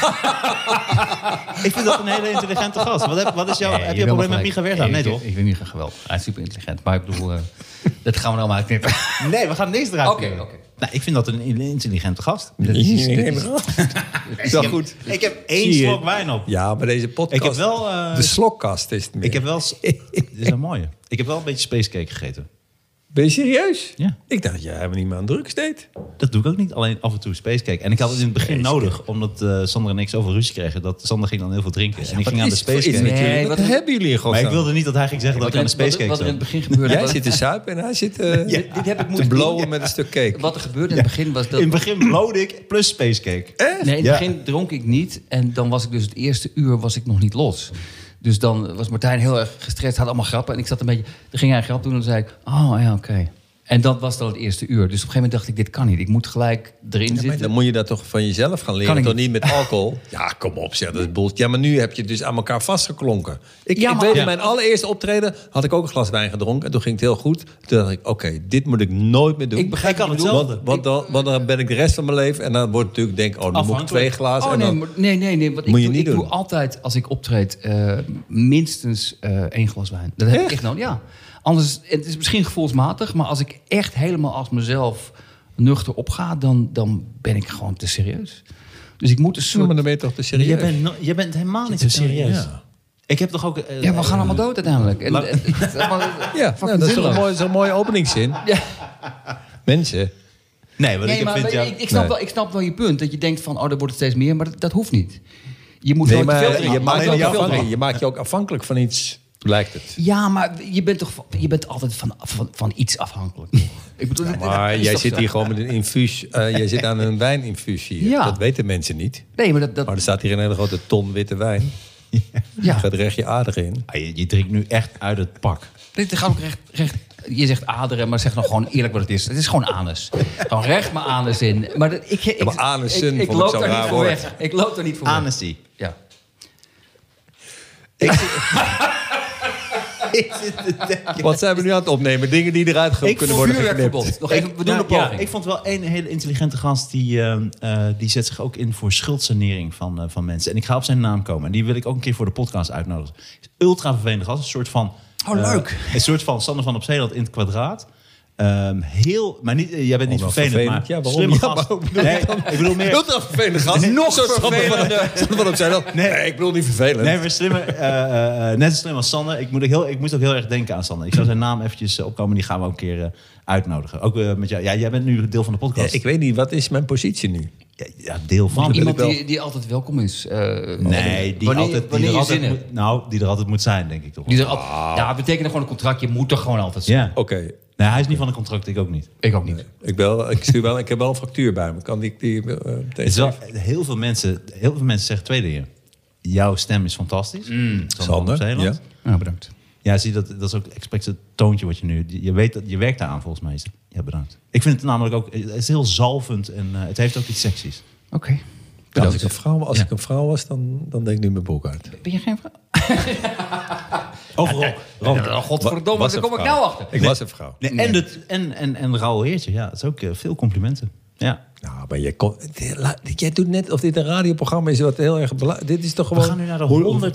[SPEAKER 2] Ik vind dat een hele intelligente gast. Wat heb, wat is jouw,
[SPEAKER 3] Nee,
[SPEAKER 2] heb je
[SPEAKER 3] wil
[SPEAKER 2] een probleem
[SPEAKER 3] maar
[SPEAKER 2] met
[SPEAKER 3] gelijk.
[SPEAKER 2] Micha Werda? Nee,
[SPEAKER 3] ik-
[SPEAKER 2] toch?
[SPEAKER 3] Ik vind Micha geweldig. Hij is super intelligent. Maar ik bedoel, eh, <laughs> dat gaan we nou er allemaal uitknippen.
[SPEAKER 2] <laughs> Nee, we gaan niks eruit.
[SPEAKER 3] Oké,
[SPEAKER 2] knippen.
[SPEAKER 3] oké.
[SPEAKER 2] Nou, ik vind dat een intelligente
[SPEAKER 1] <laughs>
[SPEAKER 2] gast.
[SPEAKER 1] Dat is,
[SPEAKER 2] <laughs>
[SPEAKER 1] wel goed.
[SPEAKER 2] Ik heb één
[SPEAKER 1] Zie je.
[SPEAKER 2] slok wijn op.
[SPEAKER 1] Ja, maar deze podcast.
[SPEAKER 2] Ik heb wel, eh,
[SPEAKER 1] de slokkast is het meer.
[SPEAKER 2] Ik heb wel... s- <laughs> Dit is een mooie. Ik heb wel een beetje spacecake gegeten.
[SPEAKER 1] Ben je serieus?
[SPEAKER 2] Ja.
[SPEAKER 1] Ik dacht dat jij helemaal niet meer aan drugs deed.
[SPEAKER 2] Dat doe ik ook niet, alleen af en toe spacecake. En ik had het in het begin
[SPEAKER 1] Spacecake.
[SPEAKER 2] nodig, omdat eh, Sander en ik zoveel ruzie kregen. Dat Sander ging dan heel veel drinken. en ik ging aan de spacecake.
[SPEAKER 3] iets met jullie?
[SPEAKER 1] Nee,
[SPEAKER 3] Wat
[SPEAKER 1] wat
[SPEAKER 3] is-
[SPEAKER 1] hebben jullie in
[SPEAKER 2] Maar ik
[SPEAKER 1] godsnaam?
[SPEAKER 2] wilde niet dat hij ging zeggen dat ik
[SPEAKER 3] Wat
[SPEAKER 2] aan de
[SPEAKER 3] er- wat er-
[SPEAKER 2] spacecake
[SPEAKER 3] wat er in
[SPEAKER 2] zat.
[SPEAKER 3] het begin
[SPEAKER 2] <laughs>
[SPEAKER 3] gebeurde.
[SPEAKER 1] Jij
[SPEAKER 3] was-
[SPEAKER 1] zit te suipen en hij zit eh,
[SPEAKER 3] dit, dit heb ik
[SPEAKER 1] te
[SPEAKER 3] moeten
[SPEAKER 1] blowen met een stuk cake.
[SPEAKER 3] Wat er gebeurde in het begin was dat...
[SPEAKER 2] In het begin blode ik plus spacecake.
[SPEAKER 3] Nee, in het
[SPEAKER 2] Ja.
[SPEAKER 3] begin dronk ik niet. En dan was ik dus het eerste uur was ik nog niet los. Dus dan was Martijn heel erg gestrest, had allemaal grappen. En ik zat een beetje... Dan ging hij een grap doen en dan zei ik... Oh, ja, oké. En dat was dan het eerste uur. Dus op een gegeven moment dacht ik, dit kan niet. Ik moet gelijk erin
[SPEAKER 1] Ja, maar
[SPEAKER 3] zitten.
[SPEAKER 1] dan moet je dat toch van jezelf gaan
[SPEAKER 3] Kan
[SPEAKER 1] leren,
[SPEAKER 3] ik
[SPEAKER 1] toch
[SPEAKER 3] niet.
[SPEAKER 1] niet met alcohol? <laughs> Ja, kom op, zeg, dat is bullshit. Ja, maar nu heb je het dus aan elkaar vastgeklonken. Ik,
[SPEAKER 3] Ja,
[SPEAKER 1] ik
[SPEAKER 3] maar-
[SPEAKER 1] weet,
[SPEAKER 2] Ja.
[SPEAKER 1] in mijn allereerste optreden had ik ook een glas wijn gedronken. En toen ging het heel goed. Toen dacht ik, oké, dit moet ik nooit meer doen.
[SPEAKER 3] Ik begrijp
[SPEAKER 2] Hij kan
[SPEAKER 3] wat je
[SPEAKER 2] het
[SPEAKER 3] bedoelt.
[SPEAKER 1] want, want, dan, want dan ben ik de rest van mijn leven... en dan wordt natuurlijk denk ik, oh, nu moet ik
[SPEAKER 2] Afhankelijk.
[SPEAKER 1] twee glazen.
[SPEAKER 3] Oh
[SPEAKER 1] en
[SPEAKER 3] nee,
[SPEAKER 1] dan-
[SPEAKER 3] maar- nee, nee, nee. Want ik,
[SPEAKER 1] Moet je
[SPEAKER 3] doe,
[SPEAKER 1] niet
[SPEAKER 3] ik doe
[SPEAKER 1] doen.
[SPEAKER 3] altijd als ik optreed eh, minstens eh, één glas wijn. Dat heb ik echt nodig. Ja. Anders, het is misschien gevoelsmatig, maar als ik echt helemaal als mezelf nuchter opga, dan, dan ben ik gewoon te serieus. Dus ik moet een
[SPEAKER 1] Ja, maar
[SPEAKER 3] soort.
[SPEAKER 1] dan ben je toch te serieus?
[SPEAKER 2] Je bent, no- je bent helemaal niet zo serieus.
[SPEAKER 1] Ja.
[SPEAKER 2] Ik heb toch ook... eh,
[SPEAKER 3] Ja, we gaan allemaal dood uiteindelijk. En,
[SPEAKER 2] La-
[SPEAKER 3] en- het is allemaal-
[SPEAKER 1] <laughs> Ja,
[SPEAKER 3] fucking
[SPEAKER 1] nou, dat is toch
[SPEAKER 3] zinloos.
[SPEAKER 1] een mooi- zo'n mooie openingszin.
[SPEAKER 3] Ja.
[SPEAKER 1] Mensen,
[SPEAKER 2] Nee, want
[SPEAKER 3] Nee,
[SPEAKER 2] ik
[SPEAKER 3] maar
[SPEAKER 2] vind jou...
[SPEAKER 3] ik, ik snap
[SPEAKER 1] Nee.
[SPEAKER 3] wel, ik snap wel je punt. Dat je denkt van, oh, er wordt het steeds meer, maar dat, dat hoeft niet. Je moet
[SPEAKER 1] nee,
[SPEAKER 3] nooit te veel
[SPEAKER 1] maar,
[SPEAKER 3] drinken.
[SPEAKER 1] je, maakt
[SPEAKER 2] Alleen
[SPEAKER 1] je, ook
[SPEAKER 2] jouw
[SPEAKER 1] afhankelijk-
[SPEAKER 2] verhaal.
[SPEAKER 1] je maakt je ook afhankelijk van iets, lijkt het.
[SPEAKER 3] Ja, maar je bent toch van- je bent altijd van, van, van iets afhankelijk. Ik bedoel, dat- dat
[SPEAKER 1] Maar
[SPEAKER 3] is
[SPEAKER 1] jij
[SPEAKER 3] toch
[SPEAKER 1] zit
[SPEAKER 3] zo?
[SPEAKER 1] hier gewoon met een infuus. eh, jij zit aan een wijninfuus hier.
[SPEAKER 3] Ja.
[SPEAKER 1] Dat weten mensen niet.
[SPEAKER 3] Nee, maar dat, dat,
[SPEAKER 1] Maar er staat hier een hele grote ton witte wijn. Er
[SPEAKER 3] ja.
[SPEAKER 1] gaat recht je aardig in.
[SPEAKER 2] Ah, je, je drinkt nu echt uit het pak.
[SPEAKER 3] Dit gaat ook recht, recht. Je zegt aderen, maar zeg nog gewoon eerlijk wat het is. Het is gewoon anus. Gewoon recht mijn anus in. Maar dat, ik, ik,
[SPEAKER 1] maar anussen
[SPEAKER 3] ik, ik
[SPEAKER 1] vond ik
[SPEAKER 3] loop
[SPEAKER 1] zo'n
[SPEAKER 3] daar niet
[SPEAKER 1] raar
[SPEAKER 3] voor
[SPEAKER 1] woord.
[SPEAKER 3] weg. Ik loop daar niet voor
[SPEAKER 2] <laughs>
[SPEAKER 3] weg. <laughs>
[SPEAKER 2] Honesty.
[SPEAKER 3] Ja.
[SPEAKER 1] Wat zijn we nu aan het opnemen? Dingen die eruit
[SPEAKER 2] Ik
[SPEAKER 1] kunnen
[SPEAKER 2] voel
[SPEAKER 1] worden
[SPEAKER 3] Vuurwerkverbod.
[SPEAKER 1] geknipt.
[SPEAKER 3] Nog even, we doen een
[SPEAKER 2] Nou, ja,
[SPEAKER 3] poging.
[SPEAKER 2] ik vond wel een hele intelligente gast die, ehm, eh, die zet zich ook in voor schuldsanering van, eh, van mensen. En ik ga op zijn naam komen. En die wil ik ook een keer voor de podcast uitnodigen. Is ultra vervelend gast. Een soort van.
[SPEAKER 3] Oh,
[SPEAKER 2] eh,
[SPEAKER 3] leuk.
[SPEAKER 2] een soort van Sander van op Zeeland in het kwadraat. Ehm, heel, maar niet, eh, jij bent niet
[SPEAKER 1] Oh, wel
[SPEAKER 2] vervelend,
[SPEAKER 1] vervelend.
[SPEAKER 2] maar
[SPEAKER 1] Ja, waarom?
[SPEAKER 2] slimme
[SPEAKER 1] Ja,
[SPEAKER 2] gast.
[SPEAKER 1] waarom bedoel
[SPEAKER 2] nee, ik bedoel meer,
[SPEAKER 1] <laughs> Heel erg vervelende gast. <laughs>
[SPEAKER 2] Nog
[SPEAKER 1] Zo'n Sander van-
[SPEAKER 2] vervelender.
[SPEAKER 1] Sander van op zijn land.
[SPEAKER 2] Nee.
[SPEAKER 1] Nee, ik bedoel niet vervelend.
[SPEAKER 2] Nee, maar slimmer, eh, eh, eh, net zo slim als Sander. Ik moet, ook heel, ik moet ook heel erg denken aan Sander. Ik zou zijn naam eventjes eh, opkomen. Die gaan we ook een keer eh, uitnodigen. Ook eh, met jou. Ja, jij bent nu deel van de
[SPEAKER 1] Ja,
[SPEAKER 2] podcast.
[SPEAKER 1] ik weet niet, wat is mijn positie nu?
[SPEAKER 2] Ja, ja, deel van.
[SPEAKER 3] Iemand
[SPEAKER 1] wel-
[SPEAKER 3] die, die altijd welkom is. eh,
[SPEAKER 2] Nee, die,
[SPEAKER 3] wanneer,
[SPEAKER 2] altijd, die
[SPEAKER 3] wanneer
[SPEAKER 2] er
[SPEAKER 3] je
[SPEAKER 2] altijd
[SPEAKER 3] zin hebt.
[SPEAKER 2] moet, Nou, die er altijd moet zijn, denk ik toch. wel.
[SPEAKER 3] Die er altijd, ja, het betekent gewoon een contract. Je moet er gewoon altijd zijn.
[SPEAKER 2] Ja.
[SPEAKER 1] Oké,
[SPEAKER 2] Nee, hij is niet van een contract, ik ook niet.
[SPEAKER 3] Ik ook niet.
[SPEAKER 1] Ik, bel, ik, stuur wel, ik heb wel een factuur bij me. Kan ik die eh, meteen
[SPEAKER 2] Het is wel, heel, veel mensen, heel veel mensen zeggen twee dingen. Jouw stem is fantastisch.
[SPEAKER 3] Mm.
[SPEAKER 2] Sander
[SPEAKER 1] Sander,
[SPEAKER 2] van Zeeland.
[SPEAKER 1] ja.
[SPEAKER 3] Nou, bedankt.
[SPEAKER 2] Ja, zie dat, dat is ook expres het toontje wat je nu... Je, weet dat, je werkt daar aan volgens mij. Is het- Ja, bedankt. Ik vind het namelijk ook... Het is heel zalvend en eh, het heeft ook iets seksies.
[SPEAKER 3] Oké.
[SPEAKER 1] Ja,
[SPEAKER 3] Bedankt.
[SPEAKER 1] als ik een vrouw, als
[SPEAKER 2] Ja.
[SPEAKER 1] ik een vrouw was, dan, dan deed ik nu mijn broek uit.
[SPEAKER 3] Ben je geen vrouw?
[SPEAKER 2] Overal. Ronald.
[SPEAKER 3] Oh, godverdomme,
[SPEAKER 1] Was
[SPEAKER 3] daar
[SPEAKER 1] een
[SPEAKER 3] kom ik
[SPEAKER 1] vrouw.
[SPEAKER 3] nou achter.
[SPEAKER 1] Ik was een vrouw.
[SPEAKER 2] Nee, En, het, en, en, en rauw heertje. Ja, dat is ook eh, veel complimenten. Ja.
[SPEAKER 1] Nou, maar jij, kon, la- jij doet net of dit een radioprogramma is wat heel erg belangrijk. Dit is toch gewoon...
[SPEAKER 2] We gaan nu naar de
[SPEAKER 1] Hoe-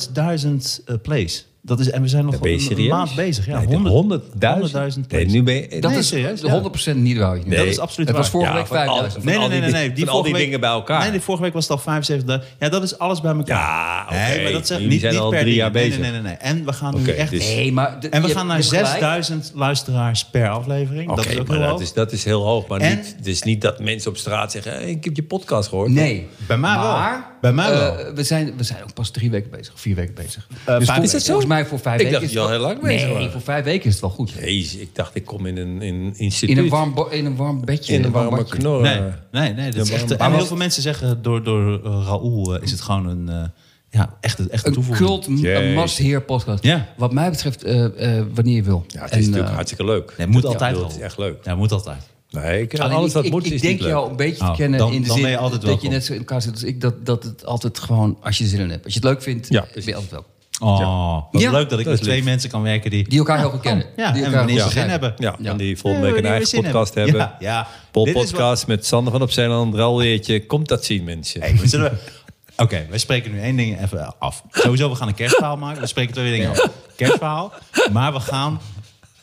[SPEAKER 2] 100.000 eh, plays. Dat is, en we zijn nog
[SPEAKER 1] Ben je
[SPEAKER 2] een, een
[SPEAKER 1] serieus?
[SPEAKER 2] maand bezig. Ja,
[SPEAKER 1] Nee, de
[SPEAKER 2] 100
[SPEAKER 1] honderdduizend?
[SPEAKER 2] 100.000
[SPEAKER 1] Nee,
[SPEAKER 2] plays.
[SPEAKER 1] nu ben je...
[SPEAKER 3] Dat
[SPEAKER 2] Nee,
[SPEAKER 3] is
[SPEAKER 2] serieus, ja.
[SPEAKER 3] 100% niet waar.
[SPEAKER 1] Nee.
[SPEAKER 2] Dat is absoluut
[SPEAKER 3] Het was
[SPEAKER 2] waar.
[SPEAKER 3] vorige
[SPEAKER 1] Ja,
[SPEAKER 3] week
[SPEAKER 1] van al-
[SPEAKER 3] 5000.
[SPEAKER 1] van
[SPEAKER 2] Nee, nee,
[SPEAKER 1] al
[SPEAKER 2] nee,
[SPEAKER 1] die
[SPEAKER 2] nee, nee.
[SPEAKER 1] dingen-
[SPEAKER 2] Die
[SPEAKER 1] van al die
[SPEAKER 2] vorige
[SPEAKER 1] dingen
[SPEAKER 2] week-
[SPEAKER 1] bij elkaar.
[SPEAKER 2] Nee, die vorige week was het al 75. Ja, dat is alles bij elkaar.
[SPEAKER 1] Ja, oké.
[SPEAKER 2] Nee, maar dat zeg,
[SPEAKER 1] Jullie
[SPEAKER 2] niet,
[SPEAKER 1] zijn
[SPEAKER 2] niet
[SPEAKER 1] al
[SPEAKER 2] per
[SPEAKER 1] drie
[SPEAKER 2] ding.
[SPEAKER 1] jaar
[SPEAKER 2] Nee,
[SPEAKER 1] bezig.
[SPEAKER 2] Nee, nee, nee, nee. En we gaan nu
[SPEAKER 1] Oké,
[SPEAKER 2] echt...
[SPEAKER 1] dus-
[SPEAKER 3] Nee, maar de-
[SPEAKER 2] En we
[SPEAKER 3] je-
[SPEAKER 2] gaan
[SPEAKER 3] je
[SPEAKER 2] naar
[SPEAKER 3] hebt gelijk.
[SPEAKER 2] 6000 luisteraars per aflevering.
[SPEAKER 1] Oké,
[SPEAKER 2] dat is ook
[SPEAKER 1] maar
[SPEAKER 2] heel
[SPEAKER 1] dat
[SPEAKER 2] hoog.
[SPEAKER 1] is, dat is heel hoog. Maar
[SPEAKER 2] En-
[SPEAKER 1] niet, het is niet dat mensen op straat zeggen... "Hey, ik heb je podcast gehoord.
[SPEAKER 3] Nee.
[SPEAKER 2] Bij mij wel.
[SPEAKER 3] Maar,
[SPEAKER 2] Bij mij wel.
[SPEAKER 3] eh, we, zijn, we zijn ook pas drie weken bezig, vier weken bezig.
[SPEAKER 2] vijf
[SPEAKER 3] vol-
[SPEAKER 2] weken.
[SPEAKER 1] Is dat zo?
[SPEAKER 3] Volgens mij voor vijf
[SPEAKER 1] Ik
[SPEAKER 3] weken
[SPEAKER 1] dacht
[SPEAKER 3] is
[SPEAKER 1] dat je
[SPEAKER 3] het
[SPEAKER 1] al
[SPEAKER 3] wel-
[SPEAKER 1] heel lang bezig
[SPEAKER 3] nee,
[SPEAKER 1] was.
[SPEAKER 3] voor vijf weken is het wel goed.
[SPEAKER 1] Jezus, ik dacht ik kom in een, in een instituut.
[SPEAKER 3] In een, warm bo- in een warm bedje.
[SPEAKER 1] in een warme
[SPEAKER 3] badje.
[SPEAKER 1] knor.
[SPEAKER 2] Nee, nee, nee. Dat is echt, en heel
[SPEAKER 3] was-
[SPEAKER 2] veel mensen zeggen door, door eh, Raoul eh, is het gewoon een... eh, ja, echt, een- echt een
[SPEAKER 3] Een
[SPEAKER 2] toevoeging.
[SPEAKER 3] cult, een
[SPEAKER 1] Jezus.
[SPEAKER 3] must-hear podcast.
[SPEAKER 2] Ja.
[SPEAKER 3] Wat mij betreft, eh, eh, wanneer je wil.
[SPEAKER 1] Ja, het is
[SPEAKER 3] En,
[SPEAKER 1] natuurlijk
[SPEAKER 3] eh,
[SPEAKER 1] hartstikke leuk.
[SPEAKER 2] Nee, moet
[SPEAKER 1] Ik
[SPEAKER 2] altijd
[SPEAKER 1] bedoel,
[SPEAKER 2] wel.
[SPEAKER 1] Het is echt leuk.
[SPEAKER 2] Ja, moet altijd.
[SPEAKER 1] Nee, ik,
[SPEAKER 3] alleen
[SPEAKER 1] alles
[SPEAKER 3] ik-
[SPEAKER 1] wat
[SPEAKER 3] ik,
[SPEAKER 1] moet
[SPEAKER 3] ik
[SPEAKER 1] is
[SPEAKER 3] denk
[SPEAKER 1] niet leuk.
[SPEAKER 3] jou een beetje te
[SPEAKER 2] Oh,
[SPEAKER 3] kennen
[SPEAKER 2] dan-
[SPEAKER 3] in de
[SPEAKER 2] dan
[SPEAKER 3] zin
[SPEAKER 2] ben je altijd
[SPEAKER 3] dat je
[SPEAKER 2] welkom.
[SPEAKER 3] net zo in elkaar zit als ik. Dat, dat het altijd gewoon, als je er zin in hebt. Als je het leuk vindt,
[SPEAKER 1] Ja,
[SPEAKER 3] ben
[SPEAKER 1] precies.
[SPEAKER 3] je altijd welkom.
[SPEAKER 2] Oh, wat
[SPEAKER 3] Ja.
[SPEAKER 2] leuk dat ik
[SPEAKER 1] Dat is
[SPEAKER 2] met twee
[SPEAKER 1] lief.
[SPEAKER 2] mensen kan werken die...
[SPEAKER 3] Die elkaar heel goed kennen.
[SPEAKER 2] Ja,
[SPEAKER 3] die
[SPEAKER 2] en
[SPEAKER 3] elkaar
[SPEAKER 2] wanneer
[SPEAKER 3] goed
[SPEAKER 2] ze zin
[SPEAKER 3] begrijpen.
[SPEAKER 2] hebben.
[SPEAKER 1] Ja,
[SPEAKER 3] Ja.
[SPEAKER 1] en die volgende
[SPEAKER 2] Ja,
[SPEAKER 1] week een
[SPEAKER 2] die
[SPEAKER 1] eigen
[SPEAKER 2] zin
[SPEAKER 1] podcast
[SPEAKER 2] hebben.
[SPEAKER 1] hebben.
[SPEAKER 2] Ja, ja.
[SPEAKER 1] Pol
[SPEAKER 2] Dit is wat-
[SPEAKER 1] Podcast met Sander van op Zeeland, Ralweertje. Komt dat zien, mensen.
[SPEAKER 2] Hey, we zullen- <laughs> Oké, wij spreken nu één ding even af. Sowieso, we gaan een kerstverhaal maken. We spreken twee dingen af. Kerstverhaal. Maar we gaan,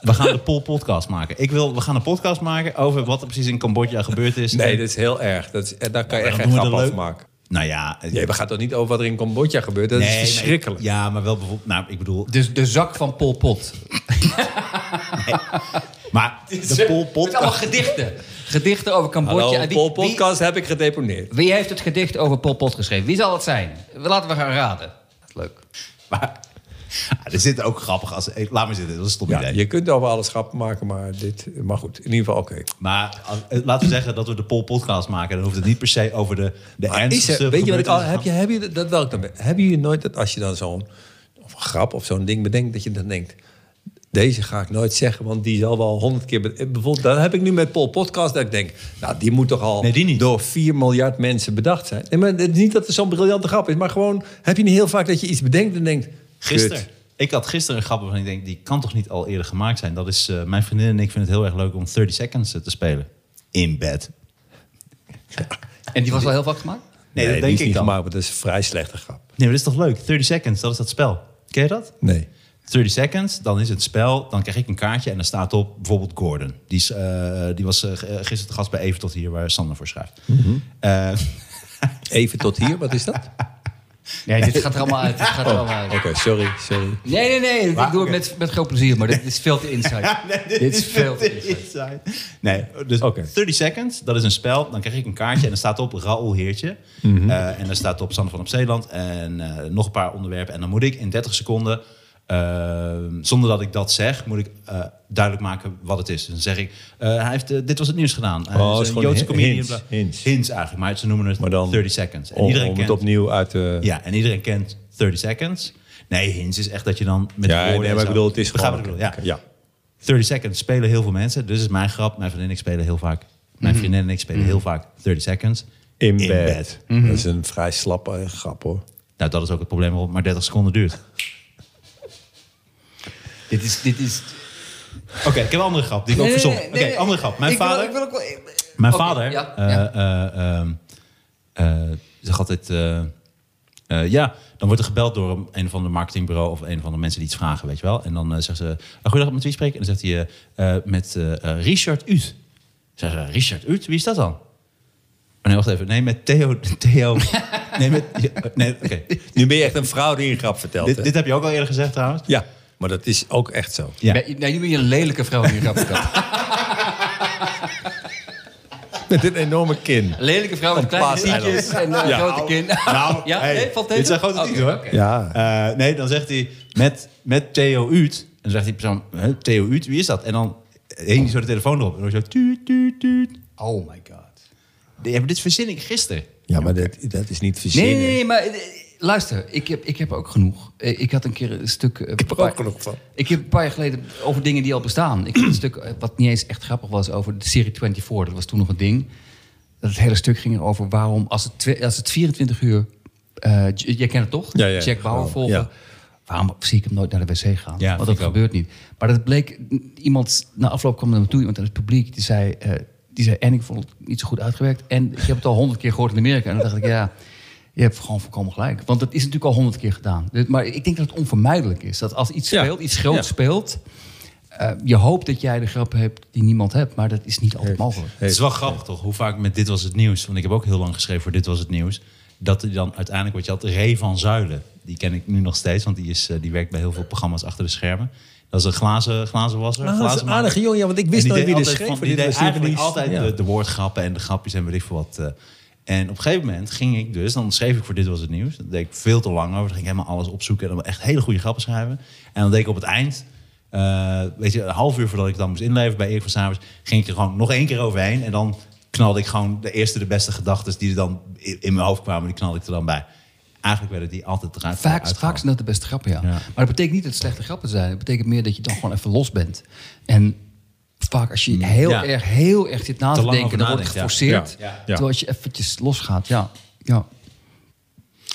[SPEAKER 2] we gaan de Pol podcast maken. Ik wil, we gaan een podcast maken over wat er precies in Cambodja gebeurd is.
[SPEAKER 1] Nee, dat is heel erg. Dat is, en daar kan je echt
[SPEAKER 2] dan
[SPEAKER 1] geen
[SPEAKER 2] doen we
[SPEAKER 1] grap
[SPEAKER 2] er leuk-
[SPEAKER 1] over maken.
[SPEAKER 2] Nou ja. eh,
[SPEAKER 1] Nee, we gaan toch niet over wat er in Cambodja gebeurt? Dat
[SPEAKER 2] nee,
[SPEAKER 1] is verschrikkelijk.
[SPEAKER 2] nee, ja, maar wel bijvoorbeeld... Nou, ik bedoel...
[SPEAKER 3] Dus de zak van Pol Pot.
[SPEAKER 2] <laughs> Maar de Pol
[SPEAKER 3] Met allemaal
[SPEAKER 2] podcast... <laughs>
[SPEAKER 3] gedichten. Gedichten over Cambodja.
[SPEAKER 1] Hallo,
[SPEAKER 3] En wie-
[SPEAKER 1] Pol
[SPEAKER 3] wie-
[SPEAKER 1] Podcast heb ik gedeponeerd.
[SPEAKER 3] Wie heeft het gedicht over Pol Pot geschreven? Wie zal het zijn? Laten we gaan raden. Leuk.
[SPEAKER 2] Maar, Ah, er zitten ook grappig als... eh, Laat me zitten, dat is een stom
[SPEAKER 1] Ja,
[SPEAKER 2] idee.
[SPEAKER 1] je kunt over alles grappen maken, maar, dit, maar goed. In ieder geval, oké.
[SPEAKER 2] Maar als- eh, laten we zeggen dat we de Pol podcast maken. Dan hoeft het niet per se over de, de
[SPEAKER 1] Maar is
[SPEAKER 2] ernstigste
[SPEAKER 1] er, weet je wat ik al
[SPEAKER 2] gebeurtenissen
[SPEAKER 1] heb? Je, heb je dat wel? Hebben jullie nooit dat als je dan zo'n of een grap of zo'n ding bedenkt, dat je dan denkt: deze ga ik nooit zeggen, want die zal wel honderd keer. be- eh, Bijvoorbeeld, dan heb ik nu met Paul Podcast dat ik denk: nou, die moet toch al
[SPEAKER 2] Nee, die niet.
[SPEAKER 1] door 4 miljard mensen bedacht zijn. Nee, maar het is niet dat het zo'n briljante grap is, maar gewoon heb je niet heel vaak dat je iets bedenkt en denkt:
[SPEAKER 2] Gisteren.
[SPEAKER 1] kut.
[SPEAKER 2] Ik had gisteren een grap waarvan ik denk, die kan toch niet al eerder gemaakt zijn. Dat is, eh, mijn vriendin en ik vinden het heel erg leuk om 30 Seconds eh, te spelen. In bed.
[SPEAKER 3] En die was wel heel vaak gemaakt?
[SPEAKER 2] Nee,
[SPEAKER 1] die
[SPEAKER 2] dat denk
[SPEAKER 1] is
[SPEAKER 2] ik
[SPEAKER 1] niet
[SPEAKER 2] dan.
[SPEAKER 1] gemaakt, want dat is een vrij slechte grap.
[SPEAKER 2] Nee, maar dat is toch leuk? 30 Seconds, dat is dat spel. Ken je dat?
[SPEAKER 1] Nee.
[SPEAKER 2] 30 Seconds, dan is het spel. Dan krijg ik een kaartje en dan staat op bijvoorbeeld Gordon. Die, is, eh, die was eh, g- eh, gisteren de gast bij Even Tot Hier, waar Sander voor schrijft.
[SPEAKER 1] Mhm.
[SPEAKER 2] Eh,
[SPEAKER 1] Even tot hier, wat is dat? Oké,
[SPEAKER 3] Nee, dit gaat er allemaal <laughs> uit. Dit gaat er allemaal uit.
[SPEAKER 1] sorry, sorry.
[SPEAKER 3] Nee, nee, nee. Ik doe het met, met groot plezier, maar dit
[SPEAKER 2] <laughs>
[SPEAKER 3] is veel te insight.
[SPEAKER 2] nee,
[SPEAKER 3] dit, is
[SPEAKER 2] <laughs>
[SPEAKER 3] veel te insight.
[SPEAKER 2] inside. Nee, dus
[SPEAKER 1] Oké.
[SPEAKER 2] 30 seconds, dat is een spel. Dan krijg ik een kaartje en er staat op Raoul Heertje.
[SPEAKER 1] Mhm.
[SPEAKER 2] Eh, en er staat op Sander van op Zeeland en eh, nog een paar onderwerpen. En dan moet ik in 30 seconden, eh, zonder dat ik dat zeg, moet ik eh, duidelijk maken wat het is. Dus dan zeg ik, eh, hij heeft, eh, dit was het nieuws gedaan. Hij
[SPEAKER 1] Oh,
[SPEAKER 2] is
[SPEAKER 1] het is
[SPEAKER 2] een
[SPEAKER 1] gewoon
[SPEAKER 2] Joodse
[SPEAKER 1] hi-
[SPEAKER 2] comedian.
[SPEAKER 1] hints,
[SPEAKER 2] bla-
[SPEAKER 1] hints.
[SPEAKER 2] eigenlijk, maar ze noemen het
[SPEAKER 1] Maar dan
[SPEAKER 2] 30 seconds. En
[SPEAKER 1] om,
[SPEAKER 2] iedereen
[SPEAKER 1] om
[SPEAKER 2] kent,
[SPEAKER 1] het opnieuw uit de.
[SPEAKER 2] ja, en iedereen kent 30 seconds. Nee, hints is echt dat je dan met
[SPEAKER 1] Ja,
[SPEAKER 2] woorden
[SPEAKER 1] nee,
[SPEAKER 2] en
[SPEAKER 1] maar ik
[SPEAKER 2] zo-
[SPEAKER 1] bedoel, het is
[SPEAKER 2] Begrijp
[SPEAKER 1] gewoon-
[SPEAKER 2] wat ik bedoel,
[SPEAKER 1] oké, ja.
[SPEAKER 2] 30 Seconds spelen heel veel mensen. Dus is mijn grap. Mijn vriendin en ik spelen heel vaak. Mijn vriendin en ik spelen heel vaak 30 Seconds.
[SPEAKER 1] In, bed. Mhm. Dat is een vrij slappe eh, grap hoor.
[SPEAKER 2] Nou, dat is ook het probleem waarom het maar 30 seconden duurt.
[SPEAKER 3] Dit is... Dit is
[SPEAKER 2] Oké, ik heb een andere grap die ik ook verzonnen. Oké, andere grap. Mijn
[SPEAKER 3] Ik wil-
[SPEAKER 2] vader...
[SPEAKER 3] ik wil ook wel- ik-
[SPEAKER 2] Mijn
[SPEAKER 3] Oké,
[SPEAKER 2] vader
[SPEAKER 3] ja,
[SPEAKER 2] eh,
[SPEAKER 3] ja.
[SPEAKER 2] eh, ehm, eh, zegt altijd... eh, eh, ja, dan wordt er gebeld door een- een van de marketingbureau... of een van de mensen die iets vragen, weet je wel. En dan eh, zeggen ze... "Ah, goedendag, met wie spreek ik?" En dan zegt hij... eh, eh, met eh, eh, Richard Ut. Zeggen ze, Richard Ut? Wie is dat dan? Oh, nee, wacht even. Nee, met Theo... <laughs> Theo nee, met... ja, eh, nee,
[SPEAKER 3] <laughs>
[SPEAKER 2] oké.
[SPEAKER 1] Nu ben je echt een vrouw die een grap vertelt.
[SPEAKER 2] Dit,
[SPEAKER 1] hè?
[SPEAKER 2] dit heb je ook al eerder gezegd trouwens.
[SPEAKER 1] Ja, maar dat is ook echt zo.
[SPEAKER 2] Ja.
[SPEAKER 3] Ben- Nee, nu ben je een lelijke vrouw die grap
[SPEAKER 2] <laughs>
[SPEAKER 3] vertelt.
[SPEAKER 1] Met een enorme kin.
[SPEAKER 3] Een lelijke vrouw met
[SPEAKER 1] Een
[SPEAKER 3] kleine
[SPEAKER 1] paaseiland.
[SPEAKER 3] tientjes en een
[SPEAKER 1] Ja.
[SPEAKER 3] grote kin.
[SPEAKER 2] Nou,
[SPEAKER 3] Ah, <laughs> ja,
[SPEAKER 2] hey,
[SPEAKER 3] nee, valt
[SPEAKER 2] dit
[SPEAKER 3] tegen?
[SPEAKER 2] zijn
[SPEAKER 3] Oh,
[SPEAKER 2] grote
[SPEAKER 3] Oké,
[SPEAKER 2] dingen, hoor.
[SPEAKER 3] oké.
[SPEAKER 1] Ja.
[SPEAKER 2] Eh, nee, dan zegt hij met, met Theo Uut. En dan zegt die persoon, "Huh, Theo Uut, wie is dat? En dan heen die zo de telefoon erop. En dan zo tuut, tuut, tuut.
[SPEAKER 3] Oh my god.
[SPEAKER 2] Ja, maar dit verzin ik gisteren.
[SPEAKER 1] Ja, maar dat, dat is niet verzinnen.
[SPEAKER 3] Nee, nee, nee, maar eh, luister, ik heb, ik heb ook genoeg. Eh, Ik had een keer een stuk... Ik
[SPEAKER 1] heb er ook genoeg van.
[SPEAKER 3] Ik heb een paar jaar geleden over dingen die al bestaan. Ik had een stuk, eh, wat niet eens echt grappig was, over de serie 24. Dat was toen nog een ding. Dat het hele stuk ging erover waarom, als het, twe- als het 24 uur... eh, J- jij kent het toch?
[SPEAKER 1] Ja, ja.
[SPEAKER 3] Jack Bauer
[SPEAKER 1] Ja.
[SPEAKER 3] volgen. Waarom zie ik hem nooit naar de wc gaan?
[SPEAKER 2] Ja,
[SPEAKER 3] Want
[SPEAKER 2] vind
[SPEAKER 3] dat
[SPEAKER 2] ik ook.
[SPEAKER 3] gebeurt niet. Maar dat bleek, iemand, na afloop kwam er naar me toe, iemand uit het publiek, die zei, eh, die zei, en ik vond het niet zo goed uitgewerkt. En ik heb het al honderd keer gehoord in Amerika. En dan dacht ik, ja, je hebt gewoon volkomen gelijk. Want dat is natuurlijk al honderd keer gedaan. Dus- Maar ik denk dat het onvermijdelijk is. Dat als iets
[SPEAKER 1] Ja.
[SPEAKER 3] speelt, iets groots
[SPEAKER 1] Ja.
[SPEAKER 3] speelt, eh, je hoopt dat jij de grap hebt die niemand hebt. Maar dat is niet altijd mogelijk.
[SPEAKER 2] Het is wel grappig toch, hoe vaak met Dit Was Het Nieuws... want ik heb ook heel lang geschreven voor Dit Was Het Nieuws... dat er dan uiteindelijk, wat je had, Ray van Zuilen... die ken ik nu nog steeds, want die, is, eh, die werkt bij heel veel programma's achter de schermen. Dat is een glazen, glazenwasser.
[SPEAKER 1] Ah, dat is een
[SPEAKER 2] glazenmaker.
[SPEAKER 1] aardige jongen, ja, want ik
[SPEAKER 2] En
[SPEAKER 1] wist
[SPEAKER 2] die
[SPEAKER 1] nooit
[SPEAKER 2] deed
[SPEAKER 1] wie er
[SPEAKER 2] altijd
[SPEAKER 1] schreef.
[SPEAKER 2] van-
[SPEAKER 1] maar
[SPEAKER 2] Die
[SPEAKER 1] dit
[SPEAKER 2] deed
[SPEAKER 1] was natuurlijk
[SPEAKER 2] eigenlijk
[SPEAKER 1] niet-
[SPEAKER 2] altijd
[SPEAKER 1] ja.
[SPEAKER 2] de, de woordgrappen en de grapjes en weet ik veel wat. eh. en op een gegeven moment ging ik dus, dan schreef ik voor Dit Was Het Nieuws. Dat deed ik veel te lang over. Dan ging ik helemaal alles opzoeken en dan echt hele goede grappen schrijven. En dan deed ik op het eind, eh, weet je, een half uur voordat ik dan moest inleveren bij Erik van Savers... ging ik er gewoon nog één keer overheen. En dan knalde ik gewoon de eerste, de beste gedachten die er dan in, in mijn hoofd kwamen... die knalde ik er dan bij. Eigenlijk werden die altijd eruit
[SPEAKER 3] Vaak,
[SPEAKER 2] uitgehaald.
[SPEAKER 3] vaak zijn dat de beste grappen, ja.
[SPEAKER 2] Ja.
[SPEAKER 3] Maar dat betekent niet dat het slechte grappen zijn. Het betekent meer dat je dan gewoon even los bent. En vaak als je heel
[SPEAKER 2] Mm. Ja.
[SPEAKER 3] erg, heel erg zit na
[SPEAKER 2] Te
[SPEAKER 3] te,
[SPEAKER 2] lang over
[SPEAKER 3] denken, dan wordt het
[SPEAKER 2] nadenkt,
[SPEAKER 3] geforceerd.
[SPEAKER 2] ja. Ja. Ja.
[SPEAKER 3] Terwijl als je eventjes losgaat, ja. ja.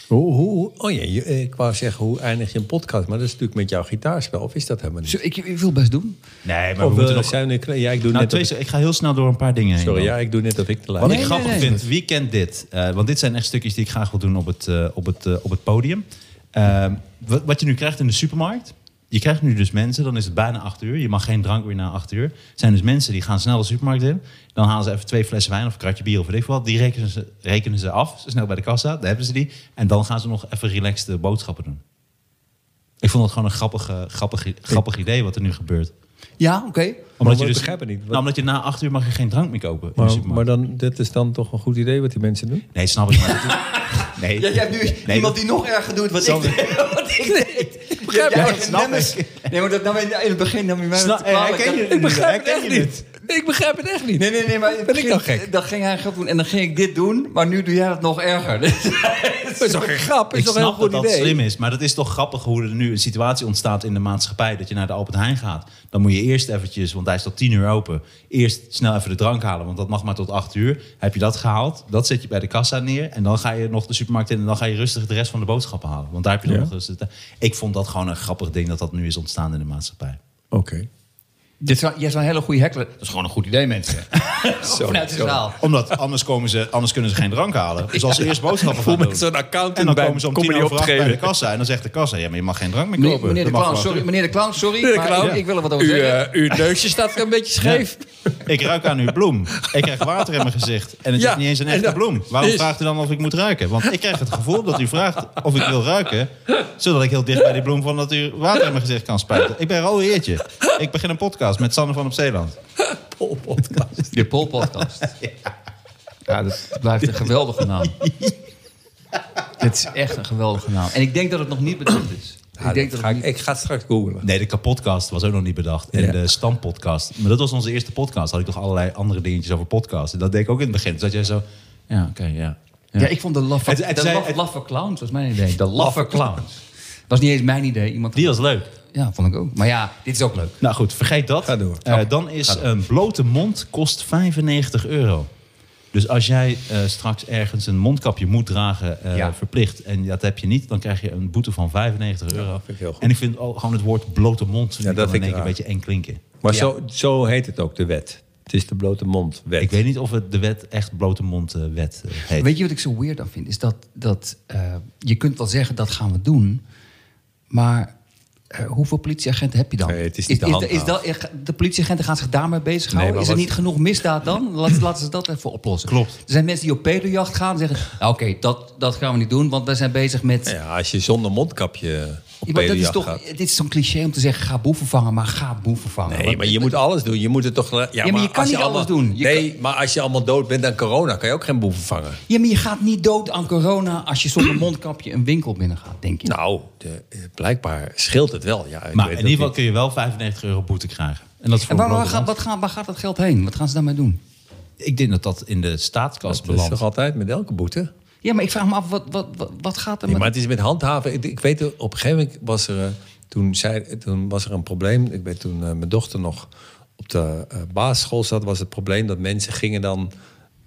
[SPEAKER 1] Hoe, hoe, hoe- oh ja, je- eh, ik wou zeggen, hoe eindig je een podcast? Maar dat is natuurlijk met jouw gitaarspel, of is dat helemaal niet?
[SPEAKER 3] Dus ik, ik wil het best doen.
[SPEAKER 2] Nee, maar
[SPEAKER 1] Of,
[SPEAKER 2] we
[SPEAKER 1] eh,
[SPEAKER 2] moeten nog...
[SPEAKER 1] zijn we nu klaar? ja, ik doe
[SPEAKER 2] Nou,
[SPEAKER 1] net dat
[SPEAKER 2] twee, ik ga heel snel door een paar dingen heen.
[SPEAKER 1] ik- sorry,
[SPEAKER 2] dan.
[SPEAKER 1] ja, ik doe net dat ik de
[SPEAKER 2] Wat
[SPEAKER 1] lijn
[SPEAKER 3] Nee,
[SPEAKER 2] ik
[SPEAKER 3] nee,
[SPEAKER 2] grappig
[SPEAKER 3] nee.
[SPEAKER 2] vind, wie kent dit? Eh, want dit zijn echt stukjes die ik graag wil doen op het, eh, op het, eh, op het podium. Ehm, wat, wat je nu krijgt in de supermarkt. Je krijgt nu dus mensen, dan is het bijna acht uur. Je mag geen drank meer na acht uur. Er zijn dus mensen die gaan snel de supermarkt in. Dan halen ze even twee flessen wijn of een kratje bier of weet ik veel wat. Die rekenen ze, rekenen ze af, zo snel bij de kassa. Daar hebben ze die. En dan gaan ze nog even relaxed de boodschappen doen. Ik vond dat gewoon een grappig, eh, grappig, grappig idee wat er nu gebeurt.
[SPEAKER 3] Ja, oké.
[SPEAKER 1] Maar
[SPEAKER 2] Omdat
[SPEAKER 1] ik
[SPEAKER 2] je dus,
[SPEAKER 1] begrijp het niet. Wat-
[SPEAKER 2] Nou, omdat je na acht uur mag je geen drank meer kopen in de
[SPEAKER 1] Maar,
[SPEAKER 2] supermarkt.
[SPEAKER 1] maar dan, dat is dan toch een goed idee wat die mensen doen?
[SPEAKER 2] Nee, snap ik. Maar.
[SPEAKER 3] <laughs>
[SPEAKER 2] Nee.
[SPEAKER 3] Jij hebt nu
[SPEAKER 2] Nee,
[SPEAKER 3] iemand
[SPEAKER 2] dat-
[SPEAKER 3] die nog erger doet wat
[SPEAKER 2] Snap
[SPEAKER 3] ik deed. <laughs> Wat ik deed. Begrijp
[SPEAKER 2] Ja, dat snap
[SPEAKER 3] Nee, maar dat nam je in het begin nam je mij
[SPEAKER 2] Snap-
[SPEAKER 3] met
[SPEAKER 2] Hey,
[SPEAKER 3] kwalijk.
[SPEAKER 2] herken je
[SPEAKER 3] Dat-
[SPEAKER 2] dit niet? Herken je dit?
[SPEAKER 1] Nee, ik begrijp het echt niet.
[SPEAKER 3] Nee,
[SPEAKER 2] <laughs>
[SPEAKER 3] nee, nee, maar in het
[SPEAKER 1] Ben ik
[SPEAKER 3] begin-
[SPEAKER 1] nou gek?
[SPEAKER 3] Dan ging hij een grap doen en dan ging ik dit doen, maar nu doe jij dat nog erger. <laughs> Dus-
[SPEAKER 1] Dat is toch geen grap? Dat is
[SPEAKER 2] Ik
[SPEAKER 1] toch een heel goed
[SPEAKER 2] snap dat dat
[SPEAKER 1] idee?
[SPEAKER 2] slim is, maar dat is toch grappig hoe er nu een situatie ontstaat in de maatschappij dat je naar de Albert Heijn gaat. Dan moet je eerst eventjes, want hij is tot tien uur open, eerst snel even de drank halen, want dat mag maar tot acht uur. Heb je dat gehaald, dat zet je bij de kassa neer en dan ga je nog de supermarkt in en dan ga je rustig de rest van de boodschappen halen. Want daar heb je dan
[SPEAKER 1] Ja.
[SPEAKER 2] nog rustig. de- Ik vond dat gewoon een grappig ding dat dat nu is ontstaan in de maatschappij.
[SPEAKER 1] Oké.
[SPEAKER 3] Dit is wel- jij is wel een hele goede heckler. Dat is gewoon een goed idee, <laughs> mensen. Zo, Vanuit de zaal.
[SPEAKER 2] Omdat anders, komen ze, anders kunnen ze geen drank halen. Dus als ze eerst boodschappen gaan doen...
[SPEAKER 1] accountant
[SPEAKER 2] En dan komen ze om tien over acht bij de kassa. En dan zegt de kassa, ja, maar je mag geen drank meer
[SPEAKER 3] Meneer,
[SPEAKER 2] kopen.
[SPEAKER 3] meneer de
[SPEAKER 2] Dat mag
[SPEAKER 3] clown,
[SPEAKER 2] wel.
[SPEAKER 3] sorry. Meneer de clown, sorry. maar Ik, ik wil er wat over
[SPEAKER 1] uw,
[SPEAKER 3] zeggen.
[SPEAKER 1] eh, uw neusje staat er een beetje scheef.
[SPEAKER 2] Ik ruik aan uw bloem. Ik krijg water in mijn gezicht. En het
[SPEAKER 1] Ja,
[SPEAKER 2] is niet eens een
[SPEAKER 1] en
[SPEAKER 2] echte
[SPEAKER 1] dat
[SPEAKER 2] bloem. Waarom
[SPEAKER 1] is-
[SPEAKER 2] vraagt u dan of ik moet ruiken? Want ik krijg het gevoel dat u vraagt of ik wil ruiken... zodat ik heel dicht bij die bloem van dat u water in mijn gezicht kan spuiten. Ik ben een rode heertje. Ik begin een podcast met Sanne van op Zeeland.
[SPEAKER 1] Pol podcast.
[SPEAKER 3] De Pol Podcast. eh, <laughs> Ja. dat blijft een geweldige <laughs> naam. Het is echt een geweldige naam. En ik denk dat het nog niet bedoeld is.
[SPEAKER 1] Ja,
[SPEAKER 3] ik
[SPEAKER 1] dat
[SPEAKER 3] denk dat
[SPEAKER 1] ga
[SPEAKER 3] het
[SPEAKER 1] ik,
[SPEAKER 3] niet...
[SPEAKER 1] ik ga het straks googlen.
[SPEAKER 2] Nee, de kapotcast was ook nog niet bedacht. En
[SPEAKER 1] Ja.
[SPEAKER 2] de stampodcast. Maar dat was onze eerste podcast. Had ik nog allerlei andere dingetjes over podcasts. En dat deed ik ook in het begin. Dus dat jij zo... Ja, oké, ja.
[SPEAKER 3] Ja. ik vond de laffe,
[SPEAKER 2] Het- het
[SPEAKER 3] de
[SPEAKER 2] zei-
[SPEAKER 3] laf-
[SPEAKER 2] het-
[SPEAKER 3] laffe clowns was mijn idee. De laffe clowns. Was niet eens mijn idee. Iemand
[SPEAKER 2] Die was leuk.
[SPEAKER 3] Ja, vond ik ook. Maar ja, dit is ook leuk.
[SPEAKER 2] Nou goed, vergeet dat.
[SPEAKER 1] Ga door.
[SPEAKER 2] Eh, dan is een blote mond kost 95 euro. Dus als jij eh, straks ergens een mondkapje moet dragen, eh,
[SPEAKER 3] Ja.
[SPEAKER 2] verplicht, en dat heb je niet, dan krijg je een boete van 95 euro.
[SPEAKER 1] vind ik heel goed.
[SPEAKER 2] En ik vind al gewoon het woord blote mond vind
[SPEAKER 1] Ja, dat
[SPEAKER 2] ik dan
[SPEAKER 1] vind
[SPEAKER 2] in
[SPEAKER 1] ik
[SPEAKER 2] één keer een beetje eng klinken.
[SPEAKER 1] Maar
[SPEAKER 3] Ja.
[SPEAKER 1] zo, zo heet het ook, de wet. Het is de blote mondwet.
[SPEAKER 2] Ik weet niet of het de wet echt blote mond eh, wet eh, heet.
[SPEAKER 3] Weet je wat ik zo weird aan vind? Is dat, dat eh, je kunt wel zeggen dat gaan we doen, maar eh, hoeveel politieagenten heb je dan?
[SPEAKER 1] Nee, het is niet te
[SPEAKER 3] is, is dat, De politieagenten gaan zich daarmee bezighouden?
[SPEAKER 1] Nee, maar
[SPEAKER 3] is er
[SPEAKER 1] wat-
[SPEAKER 3] niet genoeg
[SPEAKER 1] <laughs>
[SPEAKER 3] misdaad dan? Laat, laten ze dat even oplossen.
[SPEAKER 2] Klopt.
[SPEAKER 3] Er zijn mensen die op pedojacht gaan en zeggen... "Nou, oké, dat, dat gaan we niet doen, want wij zijn bezig met...
[SPEAKER 1] Nou Ja, als je zonder mondkapje op
[SPEAKER 3] Ja, maar dat is
[SPEAKER 1] pedojacht
[SPEAKER 3] toch,
[SPEAKER 1] gaat.
[SPEAKER 3] dit is zo'n cliché om te zeggen, ga boeven vangen, maar ga boeven vangen.
[SPEAKER 1] Nee,
[SPEAKER 3] Want-
[SPEAKER 1] maar je moet alles doen. Je moet het toch... Ja,
[SPEAKER 3] maar je kan
[SPEAKER 1] als
[SPEAKER 3] niet alles
[SPEAKER 1] allemaal-
[SPEAKER 3] doen. Je
[SPEAKER 1] nee, maar als je allemaal dood bent aan corona... kan je ook geen boeven vangen.
[SPEAKER 3] Ja, maar je gaat niet dood aan corona als je zonder mondkapje een winkel binnengaat, denk ik.
[SPEAKER 1] Nou, de- eh, Nou, blijkbaar scheelt het wel. Ja, ik
[SPEAKER 2] maar
[SPEAKER 1] weet
[SPEAKER 2] in
[SPEAKER 1] ook
[SPEAKER 2] ieder geval
[SPEAKER 1] niet.
[SPEAKER 2] kun je wel 95 euro boete krijgen. En dat is voor
[SPEAKER 3] En waar, waar,
[SPEAKER 2] Rotterdam.
[SPEAKER 3] gaat, wat gaan, waar gaat dat geld heen? Wat gaan ze daarmee doen?
[SPEAKER 2] Ik denk dat dat in de staatskas
[SPEAKER 1] Dat is
[SPEAKER 2] belandt.
[SPEAKER 1] toch altijd met elke boete?
[SPEAKER 3] Ja, maar ik vraag me af, wat, wat, wat, wat gaat er
[SPEAKER 1] Nee,
[SPEAKER 3] met...
[SPEAKER 1] maar het is met handhaven. Ik, ik weet, eh, op een gegeven moment was er, eh, toen, zei, toen was er een probleem. Ik weet toen eh, mijn dochter nog op de eh, basisschool zat, was het probleem dat mensen gingen dan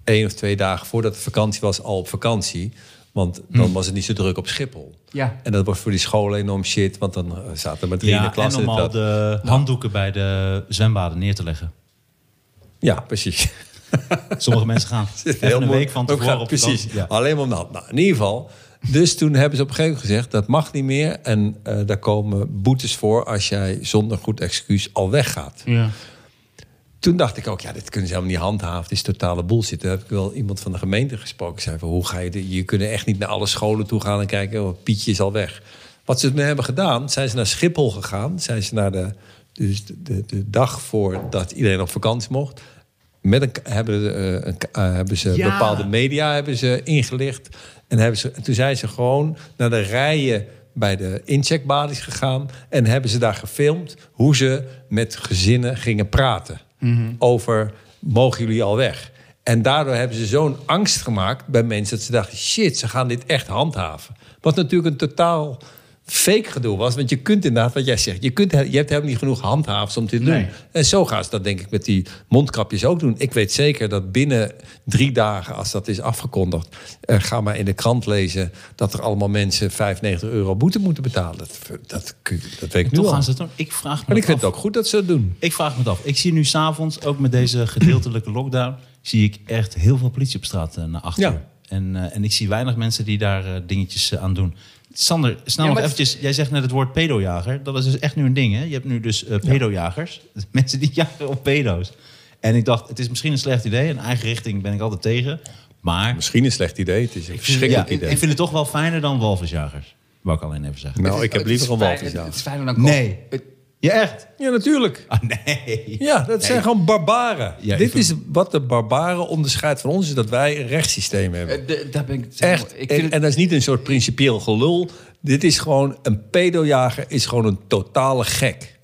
[SPEAKER 1] één of twee dagen voordat de vakantie was al op vakantie. Want dan
[SPEAKER 2] Hm.
[SPEAKER 1] was het niet zo druk op Schiphol.
[SPEAKER 3] Ja.
[SPEAKER 1] En dat was voor die scholen enorm shit, want dan eh, zaten er maar drie in de
[SPEAKER 2] Ja,
[SPEAKER 1] klas.
[SPEAKER 2] en om al
[SPEAKER 1] dat-
[SPEAKER 2] de handdoeken bij de zwembaden neer te leggen.
[SPEAKER 1] Ja, precies.
[SPEAKER 2] Sommige mensen <laughs> gaan
[SPEAKER 1] <laughs> Het is
[SPEAKER 2] even een
[SPEAKER 1] mooi.
[SPEAKER 2] week van
[SPEAKER 1] Ook
[SPEAKER 2] tevoren
[SPEAKER 1] gaat-
[SPEAKER 2] op
[SPEAKER 1] Precies,
[SPEAKER 2] vakantie. Ja.
[SPEAKER 1] alleen maar om de hand. Nou, in ieder geval. Dus toen hebben ze op een gegeven moment gezegd... dat mag niet meer en eh, daar komen boetes voor... als jij zonder goed excuus al weggaat.
[SPEAKER 3] Ja.
[SPEAKER 1] Toen dacht ik ook, ja, dit kunnen ze helemaal niet handhaven. Dit is totale bullshit. Daar heb ik wel iemand van de gemeente gesproken. Zei van, hoe ga je... dit- Je kunt echt niet naar alle scholen toe gaan en kijken... Oh, Pietje is al weg. Wat ze ermee hebben gedaan, zijn ze naar Schiphol gegaan. Zijn ze naar de, dus de, de, de dag voordat iedereen op vakantie mocht... Met een, ka- hebben, eh, een, ka- eh, hebben ze
[SPEAKER 2] Ja.
[SPEAKER 1] bepaalde media hebben ze ingelicht. En, hebben ze, en toen zijn ze gewoon naar de rijen bij de incheckbalies gegaan. En hebben ze daar gefilmd hoe ze met gezinnen gingen praten. Over, mogen jullie al weg? En daardoor hebben ze zo'n angst gemaakt bij mensen... dat ze dachten, shit, ze gaan dit echt handhaven. Wat natuurlijk een totaal fake gedoe was. Want je kunt inderdaad, wat jij zegt... je, kunt, je hebt helemaal niet genoeg handhavers om dit te doen.
[SPEAKER 3] Nee.
[SPEAKER 1] En zo gaan ze dat denk ik met die mondkapjes ook doen. Ik weet zeker dat binnen drie dagen, als dat is afgekondigd... eh, ga maar in de krant lezen dat er allemaal mensen 95 euro boete moeten betalen. Dat, dat, kun- dat weet ik nu
[SPEAKER 2] Toch
[SPEAKER 1] al.
[SPEAKER 2] gaan ze het doen. Ik vraag me
[SPEAKER 1] Maar ik
[SPEAKER 2] dat
[SPEAKER 1] vind
[SPEAKER 2] af.
[SPEAKER 1] het ook goed dat ze dat doen.
[SPEAKER 2] Ik vraag me het af. Ik zie nu s'avonds, ook met deze gedeeltelijke lockdown, zie ik echt heel veel politie op straat eh, naar achter.
[SPEAKER 1] Ja.
[SPEAKER 2] En, eh, en ik zie weinig mensen die daar eh, dingetjes eh, aan doen. Sander, snel
[SPEAKER 3] Ja,
[SPEAKER 2] nog
[SPEAKER 3] maar het-
[SPEAKER 2] eventjes. Jij zegt net het woord pedojager. Dat is dus echt nu een ding, hè? Je hebt nu dus eh, pedojagers. <laughs> Mensen die jagen op pedo's. En ik dacht, het is misschien een slecht idee. Een eigen richting ben ik altijd tegen. Maar
[SPEAKER 1] Misschien een slecht idee. Het is een
[SPEAKER 2] ja,
[SPEAKER 1] verschrikkelijk
[SPEAKER 2] ik, ik
[SPEAKER 1] idee.
[SPEAKER 2] vind het toch wel fijner dan walvisjagers. Wou ik alleen even zeggen.
[SPEAKER 1] Nou, ik heb liever een walvis.
[SPEAKER 3] Het,
[SPEAKER 1] ja.
[SPEAKER 3] het is fijner dan koken.
[SPEAKER 2] Nee. Ja, echt?
[SPEAKER 1] Ja, natuurlijk.
[SPEAKER 2] Oh, Ah, nee.
[SPEAKER 1] Ja, dat zijn gewoon barbaren.
[SPEAKER 2] Ja, ik
[SPEAKER 1] Dit
[SPEAKER 2] vind-
[SPEAKER 1] is wat de barbaren onderscheidt van ons... is dat wij een rechtssysteem hebben.
[SPEAKER 3] Eh, de- Daar ben ik...
[SPEAKER 1] Echt.
[SPEAKER 3] Ik
[SPEAKER 1] en,
[SPEAKER 3] vind
[SPEAKER 1] en
[SPEAKER 3] het,
[SPEAKER 1] dat is niet een soort principieel gelul. Dit is gewoon een pedojager, is gewoon een totale gek.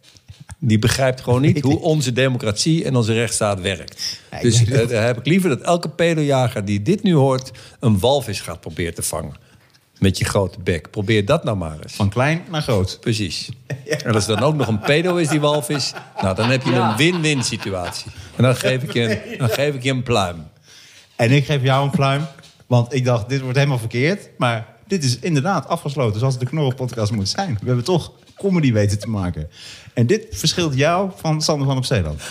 [SPEAKER 1] Die begrijpt gewoon
[SPEAKER 3] <laughs>
[SPEAKER 1] niet hoe onze democratie en onze rechtsstaat werkt. Dus eh, daar heb ik liever dat elke pedojager die dit nu hoort... een walvis gaat proberen te vangen. Met je grote bek. Probeer dat nou maar eens.
[SPEAKER 2] Van klein naar groot.
[SPEAKER 1] Precies. En als er dan ook nog een pedo is die walvis... nou, dan heb je een win-win situatie. En dan geef ik
[SPEAKER 3] <laughs>
[SPEAKER 1] je een, dan geef ik je een pluim.
[SPEAKER 2] En ik geef jou een pluim. Want ik dacht, dit wordt helemaal verkeerd. Maar dit is inderdaad afgesloten zoals de Knorrelpodcast moet zijn. We hebben toch comedy weten te maken. En dit verschilt jou van Sander van op Zeeland.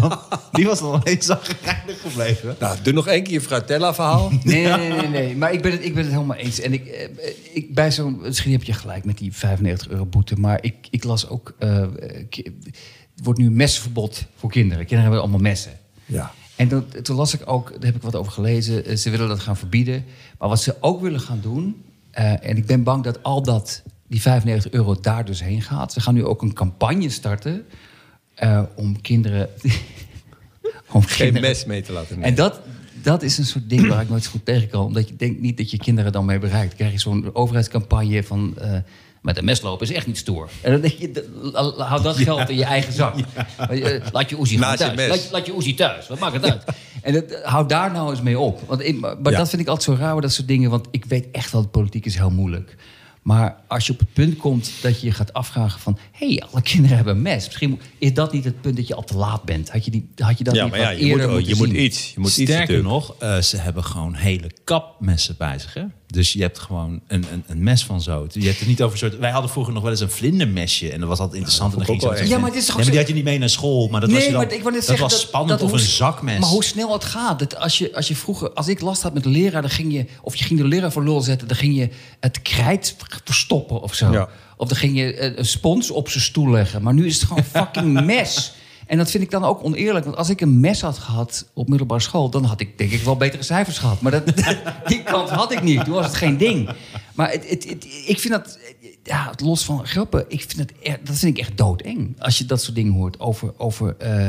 [SPEAKER 2] Want die was dan alleen zagrijnig gebleven.
[SPEAKER 1] Nou, doe nog één keer je Fratella-verhaal.
[SPEAKER 3] nee, nee, nee, nee, nee. Maar ik ben het, ik ben het helemaal eens. En ik, eh, ik bij zo'n... Misschien heb je gelijk met die 95 euro boete. Maar ik, ik las ook... eh, eh, ki- er wordt nu messenverbod voor kinderen. Kinderen hebben allemaal messen.
[SPEAKER 1] Ja.
[SPEAKER 3] En dat, toen las ik ook, daar heb ik wat over gelezen, eh, ze willen dat gaan verbieden. Maar wat ze ook willen gaan doen, eh, en ik ben bang dat al dat, die 95 euro daar dus heen gaat. Ze gaan nu ook een campagne starten eh, om kinderen... <laughs> om
[SPEAKER 1] Geen
[SPEAKER 3] kinderen-
[SPEAKER 1] mes mee te laten nemen.
[SPEAKER 3] En dat, dat is een soort ding waar ik nooit zo goed tegen kan. Omdat je denkt niet dat je kinderen dan mee bereikt. Dan krijg je zo'n overheidscampagne van... eh, met een mes lopen is echt niet stoer. En dan denk je, d- houd dat geld in je eigen zak. Maar je- Laat je Oezie gewoon
[SPEAKER 1] Naast je mes.
[SPEAKER 3] thuis. Laat, je- laat je Oezie thuis. Wat maakt het uit? En dat, hou daar nou eens mee op. Want ik- maar maar
[SPEAKER 1] Ja.
[SPEAKER 3] dat vind ik altijd zo raar, hoor, dat soort dingen. Want ik weet echt wel, politiek is heel moeilijk. Maar als je op het punt komt dat je je gaat afvragen van... hé, hey, alle kinderen hebben een mes. Misschien moet- is dat niet het punt dat je al te laat bent. Had je, die, had je dat
[SPEAKER 1] Ja,
[SPEAKER 3] niet
[SPEAKER 1] maar
[SPEAKER 3] wat
[SPEAKER 1] ja, je,
[SPEAKER 3] eerder
[SPEAKER 1] moet, oh,
[SPEAKER 3] moeten
[SPEAKER 1] je moet
[SPEAKER 3] zien?
[SPEAKER 1] iets. Je moet iets
[SPEAKER 2] Sterker
[SPEAKER 1] natuurlijk.
[SPEAKER 2] nog, eh, ze hebben gewoon hele kapmessen bij zich. Hè? Dus je hebt gewoon een, een, een mes van zo. Je hebt het niet over een soort. Wij hadden vroeger nog wel eens een vlindermesje. En dat was altijd interessant. en dan
[SPEAKER 1] vond ik
[SPEAKER 2] ging
[SPEAKER 1] ook
[SPEAKER 2] ze
[SPEAKER 1] wel
[SPEAKER 2] met zo'n
[SPEAKER 3] erg. Ja,
[SPEAKER 2] vlinder-
[SPEAKER 3] maar het is toch
[SPEAKER 2] Nee, maar
[SPEAKER 3] zo-
[SPEAKER 2] die had je niet mee naar school. Maar dat was, je dan,
[SPEAKER 3] maar ik wou net
[SPEAKER 2] dat
[SPEAKER 3] zeggen
[SPEAKER 2] was spannend.
[SPEAKER 3] dat
[SPEAKER 2] of
[SPEAKER 3] hoe
[SPEAKER 2] een
[SPEAKER 3] s-
[SPEAKER 2] zakmes.
[SPEAKER 3] Maar hoe snel het gaat. Dat als, je, als je vroeger, als ik last had met de leraar, dan ging je, of je ging de leraar voor lul zetten, dan ging je het krijt verstoppen of zo.
[SPEAKER 1] Ja.
[SPEAKER 3] Of dan ging je eh, een spons op zijn stoel leggen. Maar nu is het gewoon fucking mes. En dat vind ik dan ook oneerlijk. Want als ik een mes had gehad op middelbare school... dan had ik denk ik wel betere cijfers gehad. Maar dat, <laughs> die kant had ik niet. Toen was het geen ding. Maar het, het, het- ik vind dat... Ja, het los van grappen. Ik vind dat, e- dat vind ik echt doodeng. Als je dat soort dingen hoort over, over eh,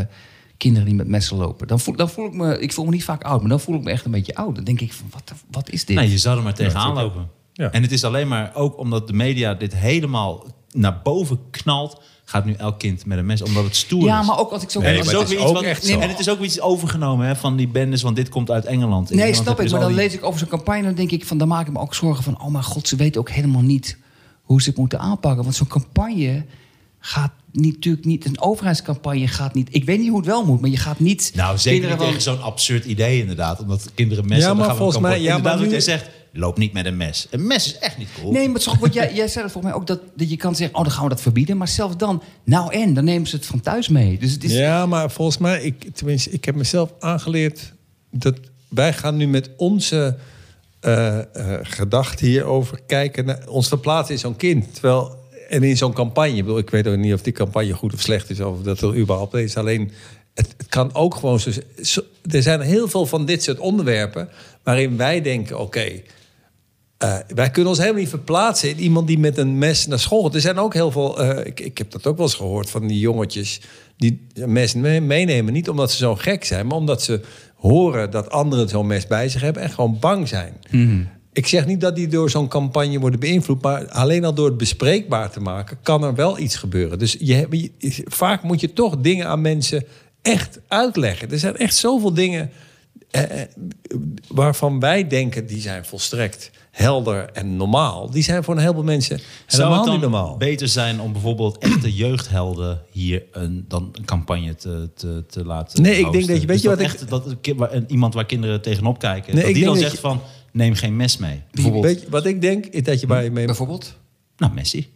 [SPEAKER 3] kinderen die met messen lopen. Dan voel, dan voel ik me... Ik voel me niet vaak oud. Maar dan voel ik me echt een beetje oud. Dan denk ik van, wat, de- wat is dit?
[SPEAKER 2] Nee, je zou er maar tegenaan
[SPEAKER 1] natuurlijk.
[SPEAKER 2] lopen.
[SPEAKER 1] Ja.
[SPEAKER 2] En het is alleen maar ook omdat de media dit helemaal naar boven knalt, gaat nu elk kind met een mes. Omdat het stoer
[SPEAKER 3] Ja,
[SPEAKER 2] is.
[SPEAKER 3] maar ook als ik zo...
[SPEAKER 1] Nee,
[SPEAKER 2] En
[SPEAKER 1] maar
[SPEAKER 2] het is ook
[SPEAKER 1] het is
[SPEAKER 2] weer iets
[SPEAKER 1] ook
[SPEAKER 2] wat-
[SPEAKER 1] echt
[SPEAKER 2] nee,
[SPEAKER 1] zo.
[SPEAKER 2] En het is ook weer iets overgenomen hè, van die bendes, want dit komt uit Engeland. In
[SPEAKER 3] Nee,
[SPEAKER 2] Engeland heb
[SPEAKER 3] snap
[SPEAKER 2] je
[SPEAKER 3] ik. Maar
[SPEAKER 2] dus
[SPEAKER 3] dan
[SPEAKER 2] al die-
[SPEAKER 3] lees ik over zo'n campagne... dan denk ik van, dan maak ik me ook zorgen van... oh mijn god, ze weten ook helemaal niet hoe ze het moeten aanpakken. Want zo'n campagne gaat niet, natuurlijk niet... een overheidscampagne gaat niet... ik weet niet hoe het wel moet, maar je gaat niet...
[SPEAKER 2] Nou, zeker niet
[SPEAKER 3] kinderen
[SPEAKER 2] tegen
[SPEAKER 3] van-
[SPEAKER 2] zo'n absurd idee inderdaad. Omdat kinderen messen...
[SPEAKER 1] Ja,
[SPEAKER 2] dan
[SPEAKER 1] maar
[SPEAKER 2] gaan we
[SPEAKER 1] volgens
[SPEAKER 2] kampen-
[SPEAKER 1] mij- ja,
[SPEAKER 2] inderdaad
[SPEAKER 1] maar
[SPEAKER 2] wat
[SPEAKER 1] nu-
[SPEAKER 2] jij zegt, loop niet met een mes. Een mes is echt niet cool.
[SPEAKER 3] Nee, maar toch, want jij, jij zei dat volgens mij ook... Dat, dat je kan zeggen, oh, dan gaan we dat verbieden. Maar zelfs dan, nou en, dan nemen ze het van thuis mee. Dus het is...
[SPEAKER 1] Ja, maar volgens mij, ik, tenminste, ik heb mezelf aangeleerd dat wij gaan nu met onze eh eh, gedachten hierover kijken. Naar, ons verplaatsen in zo'n kind. Terwijl, en in zo'n campagne. Ik, bedoel, ik weet ook niet of die campagne goed of slecht is. Of dat er überhaupt is. Alleen, het, het kan ook gewoon zo, zo- Er zijn heel veel van dit soort onderwerpen waarin wij denken: oké. Eh, wij kunnen ons helemaal niet verplaatsen in iemand die met een mes naar school gaat. Er zijn ook heel veel, eh, ik, ik heb dat ook wel eens gehoord van die jongetjes die een mes me- meenemen. Niet omdat ze zo gek zijn, maar omdat ze horen dat anderen zo'n mes bij zich hebben en gewoon bang zijn. Ik zeg niet dat die door zo'n campagne worden beïnvloed, maar alleen al door het bespreekbaar te maken kan er wel iets gebeuren. Dus je, hebt- je- vaak moet je toch dingen aan mensen echt uitleggen. Er zijn echt zoveel dingen eh, eh, waarvan wij denken die zijn volstrekt helder en normaal, die zijn voor een heleboel mensen
[SPEAKER 2] Zou
[SPEAKER 1] helemaal
[SPEAKER 2] het dan
[SPEAKER 1] niet normaal.
[SPEAKER 2] beter zijn om bijvoorbeeld echte jeugdhelden hier een, dan een campagne te, te, te laten
[SPEAKER 1] Nee, ik denk
[SPEAKER 2] hosten?
[SPEAKER 1] dat je- weet
[SPEAKER 2] Dus
[SPEAKER 1] je
[SPEAKER 2] dat
[SPEAKER 1] wat ik-
[SPEAKER 2] echt, dat een kind waar- een- iemand waar kinderen tegenop kijken,
[SPEAKER 1] Nee,
[SPEAKER 2] dat
[SPEAKER 1] ik
[SPEAKER 2] die
[SPEAKER 1] denk
[SPEAKER 2] dan
[SPEAKER 1] dat
[SPEAKER 2] zegt
[SPEAKER 1] je-
[SPEAKER 2] van, neem geen mes mee.
[SPEAKER 1] Bijvoorbeeld. Weet je, wat ik denk is dat je bij je mee.
[SPEAKER 3] Bijvoorbeeld?
[SPEAKER 2] Nou, Messi.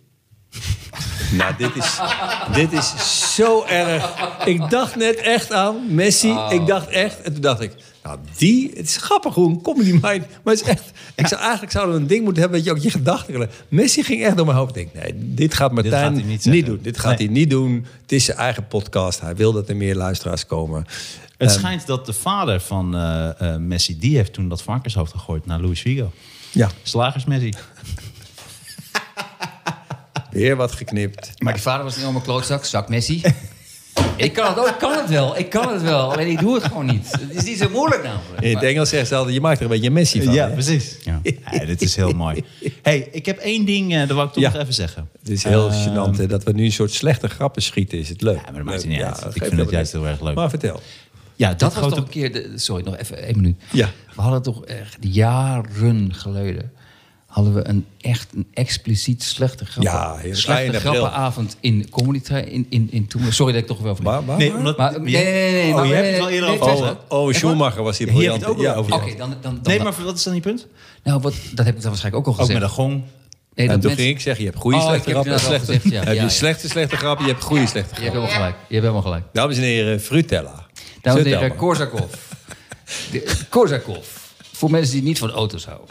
[SPEAKER 1] Nou, dit is, dit is zo erg. Ik dacht net echt aan Messi.
[SPEAKER 2] Oh.
[SPEAKER 1] Ik dacht echt. En toen dacht ik, nou die, het is grappig hoe een comedy mind. Maar het is echt. Ik zou, eigenlijk zouden we een ding moeten hebben dat je ook je gedachten. kan- Messi ging echt door mijn hoofd. Ik denk, nee, dit gaat Martijn
[SPEAKER 2] gaat hij niet
[SPEAKER 1] niet,
[SPEAKER 2] zeggen.
[SPEAKER 1] doen. Dit gaat
[SPEAKER 2] Nee.
[SPEAKER 1] hij niet doen. Het is zijn eigen podcast. Hij wil dat er meer luisteraars komen.
[SPEAKER 2] Het
[SPEAKER 1] Ehm.
[SPEAKER 2] schijnt dat de vader van eh, eh, Messi, die heeft toen dat varkenshoofd gegooid naar Luis Figo.
[SPEAKER 1] Ja,
[SPEAKER 2] Slagers Messi.
[SPEAKER 1] weer wat geknipt.
[SPEAKER 3] Maar die vader was niet allemaal klootzak,
[SPEAKER 1] <laughs>
[SPEAKER 3] zak Messi. ik kan het ook, ik kan het wel, ik kan het wel. Alleen ik doe het gewoon niet. Het is niet zo moeilijk namelijk.
[SPEAKER 1] In het Engels zeggen ze altijd, je maakt er een beetje een Messi van.
[SPEAKER 2] Ja,
[SPEAKER 1] hè?
[SPEAKER 2] precies. Ja. dit is heel mooi. hey, ik heb één ding, eh dat wou ik toch
[SPEAKER 1] Ja.
[SPEAKER 2] nog even zeggen.
[SPEAKER 1] Het is heel gênant hè, dat we nu een soort slechte grappen schieten. Is het leuk?
[SPEAKER 2] Ah. Ja, maar dat maakt het niet uit. Ik
[SPEAKER 1] geeft
[SPEAKER 2] vind het
[SPEAKER 1] helemaal
[SPEAKER 2] juist
[SPEAKER 1] niks.
[SPEAKER 2] heel erg leuk.
[SPEAKER 1] Maar vertel.
[SPEAKER 2] Ja,
[SPEAKER 3] Dat was
[SPEAKER 2] grote-
[SPEAKER 3] toch een keer... de- sorry, nog even één minuut.
[SPEAKER 1] Ja.
[SPEAKER 3] We hadden toch echt jaren geleden... hadden we een echt een expliciet slechte grappen,
[SPEAKER 1] Ja, heel klein
[SPEAKER 3] slechte
[SPEAKER 1] april.
[SPEAKER 3] grappenavond in Comedy Train. In, in, in, toen, sorry dat ik toch wel van...
[SPEAKER 1] Maar, maar,
[SPEAKER 2] Nee,
[SPEAKER 1] maar-
[SPEAKER 2] omdat...
[SPEAKER 3] Oh, Maar- nee, nee, nee, nee,
[SPEAKER 2] oh,
[SPEAKER 3] maar-
[SPEAKER 2] je hebt
[SPEAKER 3] nee,
[SPEAKER 2] het wel eerder
[SPEAKER 3] nee,
[SPEAKER 2] over.
[SPEAKER 3] nee,
[SPEAKER 1] Oh,
[SPEAKER 3] nee.
[SPEAKER 1] oh, Schumacher was hier
[SPEAKER 2] Hier heb je
[SPEAKER 1] briljant.
[SPEAKER 2] het ook
[SPEAKER 1] in.
[SPEAKER 2] wel over.
[SPEAKER 3] Oké, dan, dan, dan...
[SPEAKER 2] Nee, maar wat is dan je punt?
[SPEAKER 3] Nou, wat, dat heb ik dan waarschijnlijk ook al
[SPEAKER 2] Ook
[SPEAKER 3] gezegd.
[SPEAKER 2] met een gong.
[SPEAKER 3] nee,
[SPEAKER 1] En
[SPEAKER 3] dat
[SPEAKER 1] toen
[SPEAKER 3] mensen-
[SPEAKER 1] ging ik zeggen, je hebt goede
[SPEAKER 3] Oh,
[SPEAKER 1] slechte
[SPEAKER 3] ik heb
[SPEAKER 1] grappen en
[SPEAKER 3] inderdaad
[SPEAKER 1] slechte.
[SPEAKER 3] al gezegd, ja.
[SPEAKER 1] Heb
[SPEAKER 3] Ja,
[SPEAKER 1] je
[SPEAKER 3] ja.
[SPEAKER 1] slechte slechte grappen, je hebt goede slechte
[SPEAKER 3] Je
[SPEAKER 1] grappen.
[SPEAKER 3] hebt helemaal gelijk. Je hebt helemaal gelijk.
[SPEAKER 1] Dames en heren, Frutella.
[SPEAKER 3] Dames en
[SPEAKER 1] Vertel maar.
[SPEAKER 3] heren, Korsakov.
[SPEAKER 1] <laughs>
[SPEAKER 3] De- Korsakov. Voor mensen die niet van auto's houden.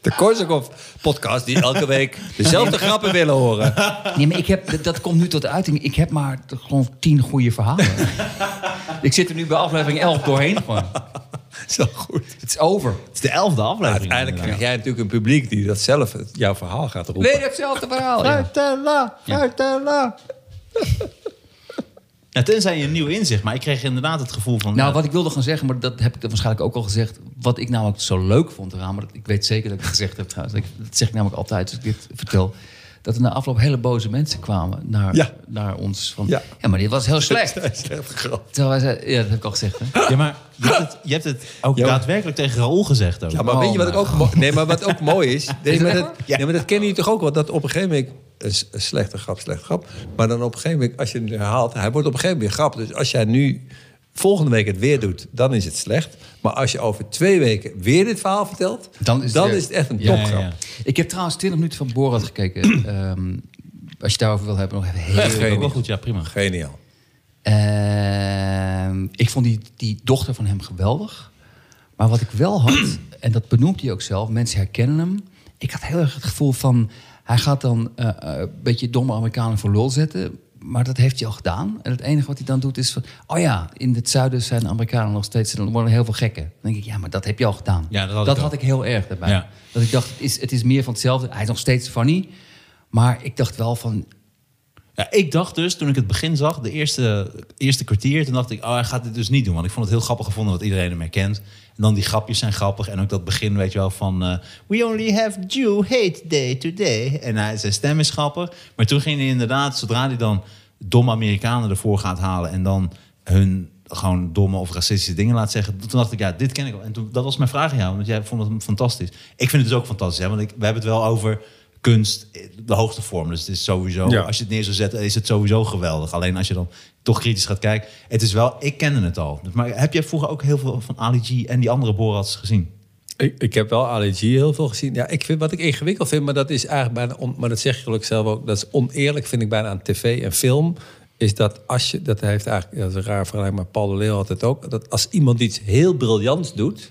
[SPEAKER 1] De Korsakov-podcast die elke week dezelfde grappen willen horen.
[SPEAKER 3] Nee, maar ik heb, dat, dat komt nu tot uiting. Ik heb maar t- gewoon tien goede verhalen. ik zit er nu bij aflevering 11 doorheen gewoon.
[SPEAKER 1] Zo goed.
[SPEAKER 3] Het is over.
[SPEAKER 2] Het is de elfde aflevering.
[SPEAKER 1] Uiteindelijk krijg
[SPEAKER 2] inderdaad.
[SPEAKER 1] jij natuurlijk een publiek die dat zelf het- jouw verhaal gaat roepen.
[SPEAKER 3] Weer hetzelfde verhaal. Ja.
[SPEAKER 1] Frutella, Frutella.
[SPEAKER 2] Nou, tenzij je een nieuw inzicht, maar ik kreeg inderdaad het gevoel van... eh,
[SPEAKER 3] Nou, wat ik wilde gaan zeggen, maar dat heb ik dan waarschijnlijk ook al gezegd. Wat ik namelijk zo leuk vond eraan, maar dat, ik weet zeker dat ik het gezegd heb trouwens. Dat, ik- dat zeg ik namelijk altijd als ik dit vertel. Dat er na afloop hele boze mensen kwamen naar,
[SPEAKER 1] Ja.
[SPEAKER 3] naar ons. Van, ja.
[SPEAKER 1] Ja.
[SPEAKER 3] maar dit was heel slecht.
[SPEAKER 1] <laughs> Slechte grap.
[SPEAKER 3] Terwijl wij zeiden, ja, dat heb ik al gezegd. Hè?
[SPEAKER 2] Ja, maar je hebt het, je hebt het ook
[SPEAKER 1] Ja, maar-
[SPEAKER 2] daadwerkelijk tegen Raoul gezegd. Ook.
[SPEAKER 1] Ja, maar
[SPEAKER 3] Oh
[SPEAKER 1] weet je wat ik
[SPEAKER 3] mijn
[SPEAKER 1] ook mo- Nee, maar wat ook <laughs> mooi is. Nee, maar
[SPEAKER 3] echt
[SPEAKER 1] dat,
[SPEAKER 2] Ja.
[SPEAKER 1] nee, maar dat kennen jullie toch ook wel. Dat op een gegeven moment. Een s- een slechte grap, slechte grap. Maar dan op een gegeven moment, als je het herhaalt, hij wordt op een gegeven moment weer grap. Dus als jij nu volgende week het weer doet, dan is het slecht. Maar als je over twee weken weer dit verhaal vertelt,
[SPEAKER 3] Dan is het weer-
[SPEAKER 1] echt een
[SPEAKER 2] Ja,
[SPEAKER 1] topgrap.
[SPEAKER 2] ja, ja.
[SPEAKER 3] Ik heb trouwens 20 minuten van Borat gekeken. <clears throat> Ehm, als je het daarover wil hebben, nog even heel
[SPEAKER 2] Dat is ook wel
[SPEAKER 1] Geniaal.
[SPEAKER 2] goed, ja, prima.
[SPEAKER 1] Geniaal.
[SPEAKER 3] Ehm, ik vond die, die dochter van hem geweldig. Maar wat ik wel
[SPEAKER 2] <clears throat>
[SPEAKER 3] had, en dat benoemt hij ook zelf, mensen herkennen hem. Ik had heel erg het gevoel van, hij gaat dan eh, eh, een beetje domme Amerikanen voor lol zetten. Maar dat heeft hij al gedaan. En het enige wat hij dan doet is van, oh ja, in het zuiden zijn de Amerikanen nog steeds, er worden heel veel gekken. Dan denk ik, ja, maar dat heb je al gedaan.
[SPEAKER 2] Ja, dat had ik ook.
[SPEAKER 3] heel erg daarbij.
[SPEAKER 2] Ja.
[SPEAKER 3] Dat ik dacht, het is, het is meer van hetzelfde. Hij is nog steeds funny. Maar ik dacht wel van,
[SPEAKER 2] Ja, ik dacht dus, toen ik het begin zag, de eerste, eerste kwartier, toen dacht ik, oh, hij gaat dit dus niet doen. Want ik vond het heel grappig gevonden dat iedereen hem herkent. En dan die grapjes zijn grappig. En ook dat begin, weet je wel, van eh, We only have Jew hate day today. En hij, zijn stem is grappig. Maar toen ging hij inderdaad, zodra hij dan domme Amerikanen ervoor gaat halen en dan hun gewoon domme of racistische dingen laat zeggen. Toen dacht ik, ja, dit ken ik al. En toen, dat was mijn vraag aan jou, want jij vond het fantastisch. Ik vind het dus ook fantastisch, hè, want ik, we hebben het wel over kunst, eh, de hoogste vorm. Dus het is sowieso,
[SPEAKER 1] Ja.
[SPEAKER 2] als je het neer zou zetten, is het sowieso geweldig. Alleen als je dan toch kritisch gaat kijken. Het is wel, ik kende het al. Maar heb jij vroeger ook heel veel van Ali G en die andere Borats gezien?
[SPEAKER 1] Ik, ik heb wel Ali G heel veel gezien. Ja, ik vind, wat ik ingewikkeld vind, maar dat is eigenlijk bijna... On, maar dat zeg ik gelukkig zelf ook. Dat is oneerlijk, vind ik bijna, aan tv en film. Is dat als je... Dat heeft eigenlijk... Dat is een raar vergelijking, maar Paul de Leeuw had het ook. Dat als iemand iets heel briljants doet...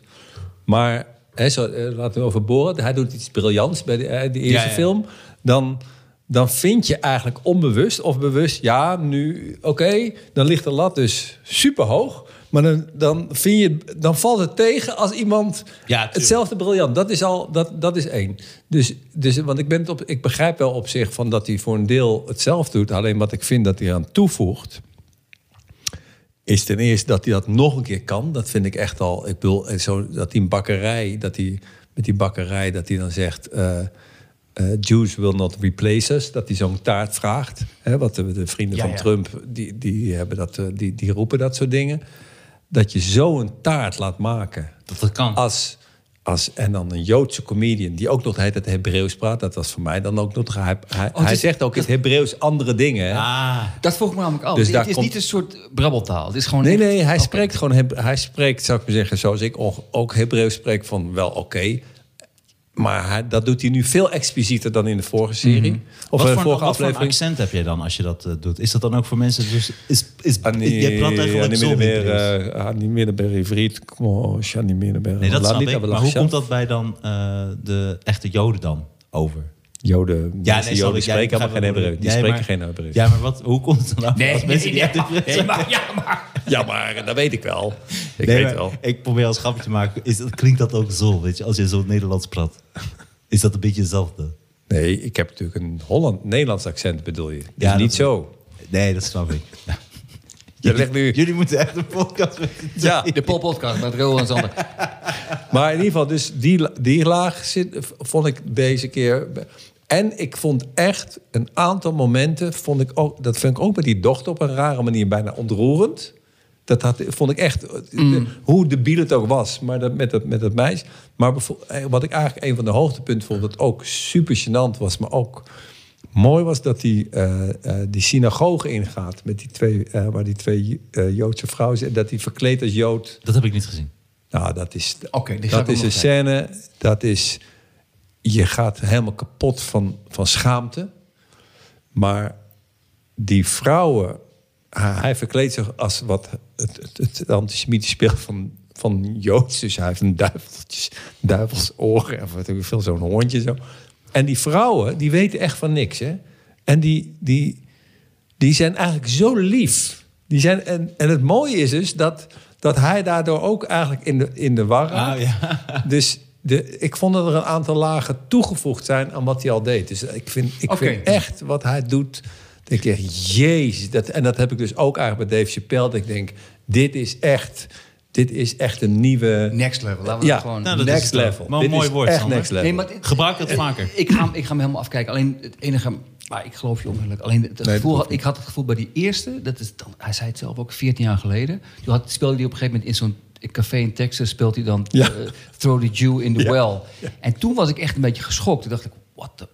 [SPEAKER 1] Maar, hè, zo, eh, laten we over Borat. Hij doet iets briljants bij de, eh, die eerste
[SPEAKER 2] Ja, ja.
[SPEAKER 1] film. Dan, dan vind je eigenlijk onbewust of bewust... Ja, nu... Oké, dan ligt de lat dus superhoog. Maar dan, dan, vind je, dan valt het tegen als iemand
[SPEAKER 2] tuurlijk.
[SPEAKER 1] hetzelfde hetzelfde briljant. Dat is al, dat, dat is één. Dus, dus want ik, ben het op, ik begrijp wel op zich van dat hij voor een deel hetzelfde doet. Alleen wat ik vind dat hij aan toevoegt. Is ten eerste dat hij dat nog een keer kan. Dat vind ik echt al. Ik bedoel, eh, zo, dat die bakkerij, dat hij met die bakkerij, dat hij dan zegt. eh eh, Jews will not replace us. Dat hij zo'n taart vraagt. Hè, wat de, de vrienden
[SPEAKER 2] Ja,
[SPEAKER 1] van
[SPEAKER 2] ja.
[SPEAKER 1] Trump, die, die, hebben dat, eh, die, die roepen dat soort dingen. Dat je zo'n taart laat maken
[SPEAKER 2] Dat dat kan.
[SPEAKER 1] als, als, en dan een Joodse comedian die ook nog de hele tijd Hebreeuws praat. Dat was voor mij dan ook nog... Hij, hij,
[SPEAKER 2] Oh,
[SPEAKER 3] dus-
[SPEAKER 1] hij zegt ook in het Hebreeuws andere dingen. Hè?
[SPEAKER 2] ah,
[SPEAKER 3] Dat vroeg ik me namelijk af.
[SPEAKER 1] Dus
[SPEAKER 3] het
[SPEAKER 1] daar
[SPEAKER 3] is
[SPEAKER 1] komt-
[SPEAKER 3] niet een soort brabbeltaal. Het is gewoon
[SPEAKER 1] nee,
[SPEAKER 3] echt-
[SPEAKER 1] nee, hij
[SPEAKER 3] Oké.
[SPEAKER 1] spreekt gewoon... Heb, hij spreekt, zou ik maar zeggen, zoals ik ook- ook Hebreeuws spreek... van wel oké... maar hij- dat doet hij nu veel explicieter dan in de vorige serie. Of
[SPEAKER 2] Mhm.
[SPEAKER 1] in
[SPEAKER 2] wat
[SPEAKER 1] de
[SPEAKER 2] voor,
[SPEAKER 1] vorige
[SPEAKER 2] wat voor een
[SPEAKER 1] aflevering.
[SPEAKER 2] accent heb jij dan als je dat eh, doet? Is dat dan ook voor mensen... Dus, is, is,
[SPEAKER 1] Ah, nee,
[SPEAKER 2] jij praat
[SPEAKER 1] ja,
[SPEAKER 2] eigenlijk
[SPEAKER 1] niet
[SPEAKER 2] zo
[SPEAKER 1] meer, meer,
[SPEAKER 2] Hebreeuws.
[SPEAKER 1] eh, ah, niet meer bij Rivriet. Kom op, ja, niet meer bij-
[SPEAKER 2] Nee, dat
[SPEAKER 1] Laat
[SPEAKER 2] snap
[SPEAKER 1] niet
[SPEAKER 2] ik.
[SPEAKER 1] dat we
[SPEAKER 2] Maar hoe
[SPEAKER 1] lachen.
[SPEAKER 2] komt dat bij dan eh, de echte Joden dan over?
[SPEAKER 1] Joden, ja,
[SPEAKER 2] snap ik.
[SPEAKER 1] Joden
[SPEAKER 2] Jij
[SPEAKER 1] spreken
[SPEAKER 2] begrijpt
[SPEAKER 1] allemaal geen
[SPEAKER 2] wat ik bedoel.
[SPEAKER 1] Hebreeuws. Die
[SPEAKER 2] Nee,
[SPEAKER 1] spreken
[SPEAKER 2] maar-
[SPEAKER 1] geen Hebreeuws.
[SPEAKER 2] Ja, maar wat, hoe komt het
[SPEAKER 3] <laughs>
[SPEAKER 2] dan over
[SPEAKER 3] Nee,
[SPEAKER 2] als mensen
[SPEAKER 3] nee,
[SPEAKER 2] die
[SPEAKER 3] ja,
[SPEAKER 2] echt Hebreeuws
[SPEAKER 3] nee, maar, <laughs> ja, maar.
[SPEAKER 1] Ja, maar dat weet ik wel. Ik
[SPEAKER 2] Nee,
[SPEAKER 1] weet
[SPEAKER 2] maar
[SPEAKER 1] wel.
[SPEAKER 2] Ik probeer als grapje te maken. Is, dat- klinkt dat ook zo, weet je, als je zo Nederlands praat? Is dat een beetje hetzelfde?
[SPEAKER 1] Nee, ik heb natuurlijk een Holland-Nederlands accent, bedoel je. Dus
[SPEAKER 2] Ja,
[SPEAKER 1] niet
[SPEAKER 2] dat-
[SPEAKER 1] zo.
[SPEAKER 2] Nee, dat snap ik. Ja.
[SPEAKER 1] <laughs> Je legt nu...
[SPEAKER 2] Jullie moeten echt een podcast met z'n
[SPEAKER 1] Ja,
[SPEAKER 3] De Pol-podcast met Roland Zander.
[SPEAKER 1] maar in ieder geval, dus die, la- die laag zit, vond ik deze keer... En ik vond echt een aantal momenten, vond ik ook, dat vind ik ook met die dochter op een rare manier bijna ontroerend. Dat had, vond ik echt, eh, de- hoe debiel het ook was, maar dat, met, dat, met dat meisje. Maar bevo- eh, wat ik eigenlijk een van de hoogtepunten vond, dat ook super gênant was, maar ook mooi was dat hij eh, eh, die synagoge ingaat, met die twee, eh, waar die twee eh, Joodse vrouwen zitten, dat hij verkleed als Jood
[SPEAKER 2] Dat heb ik niet gezien.
[SPEAKER 1] nou, dat is,
[SPEAKER 3] Oké, die ga ik
[SPEAKER 1] dat
[SPEAKER 3] ook
[SPEAKER 1] is een
[SPEAKER 3] nog
[SPEAKER 1] scène. Dat is. Je gaat helemaal kapot van, van schaamte. Maar die vrouwen. Hij hij verkleedt zich als wat het, het, het antisemitische beeld van, van Joods. Dus hij heeft een duiveltjes, duivelsoren en wat weet ik veel, zo'n hondje. Zo. En die vrouwen, die weten echt van niks. Hè? En die, die, die zijn eigenlijk zo lief. Die zijn, en, en het mooie is dus dat, dat hij daardoor ook eigenlijk in de, in de war
[SPEAKER 2] Ah,
[SPEAKER 1] raakt. Dus de, ik vond dat er een aantal lagen toegevoegd zijn aan wat hij al deed. Dus ik vind, ik
[SPEAKER 3] Oké.
[SPEAKER 1] vind echt wat hij doet. Denk ik, echt, jezus. Dat, en dat heb ik dus ook eigenlijk bij Dave Chappelle. Dat ik denk, dit is echt, dit is echt een nieuwe...
[SPEAKER 3] Next level. Laten we
[SPEAKER 1] ja,
[SPEAKER 3] dat gewoon...
[SPEAKER 2] Nou, dat is
[SPEAKER 1] next
[SPEAKER 2] het wel.
[SPEAKER 1] level.
[SPEAKER 2] Maar een
[SPEAKER 1] dit
[SPEAKER 2] mooi
[SPEAKER 1] is
[SPEAKER 2] woord,
[SPEAKER 1] echt
[SPEAKER 2] Sander.
[SPEAKER 1] next level.
[SPEAKER 3] Nee, maar het-
[SPEAKER 2] Gebruik dat vaker.
[SPEAKER 3] Ik ga, hem- ik ga hem helemaal afkijken. Alleen het enige... Maar ik geloof je onmiddellijk. Alleen het
[SPEAKER 1] dat
[SPEAKER 3] gevoel
[SPEAKER 1] hoeft
[SPEAKER 3] had, ik had het gevoel bij die eerste... Dat is dan, hij zei het zelf ook 14 jaar geleden. Toen had, speelde hij op een gegeven moment in zo'n café in Texas... speelt hij dan
[SPEAKER 1] Ja.
[SPEAKER 3] eh, Throw the Jew in the
[SPEAKER 1] Ja.
[SPEAKER 3] Well. En toen was ik echt een beetje geschokt. Toen dacht ik, wat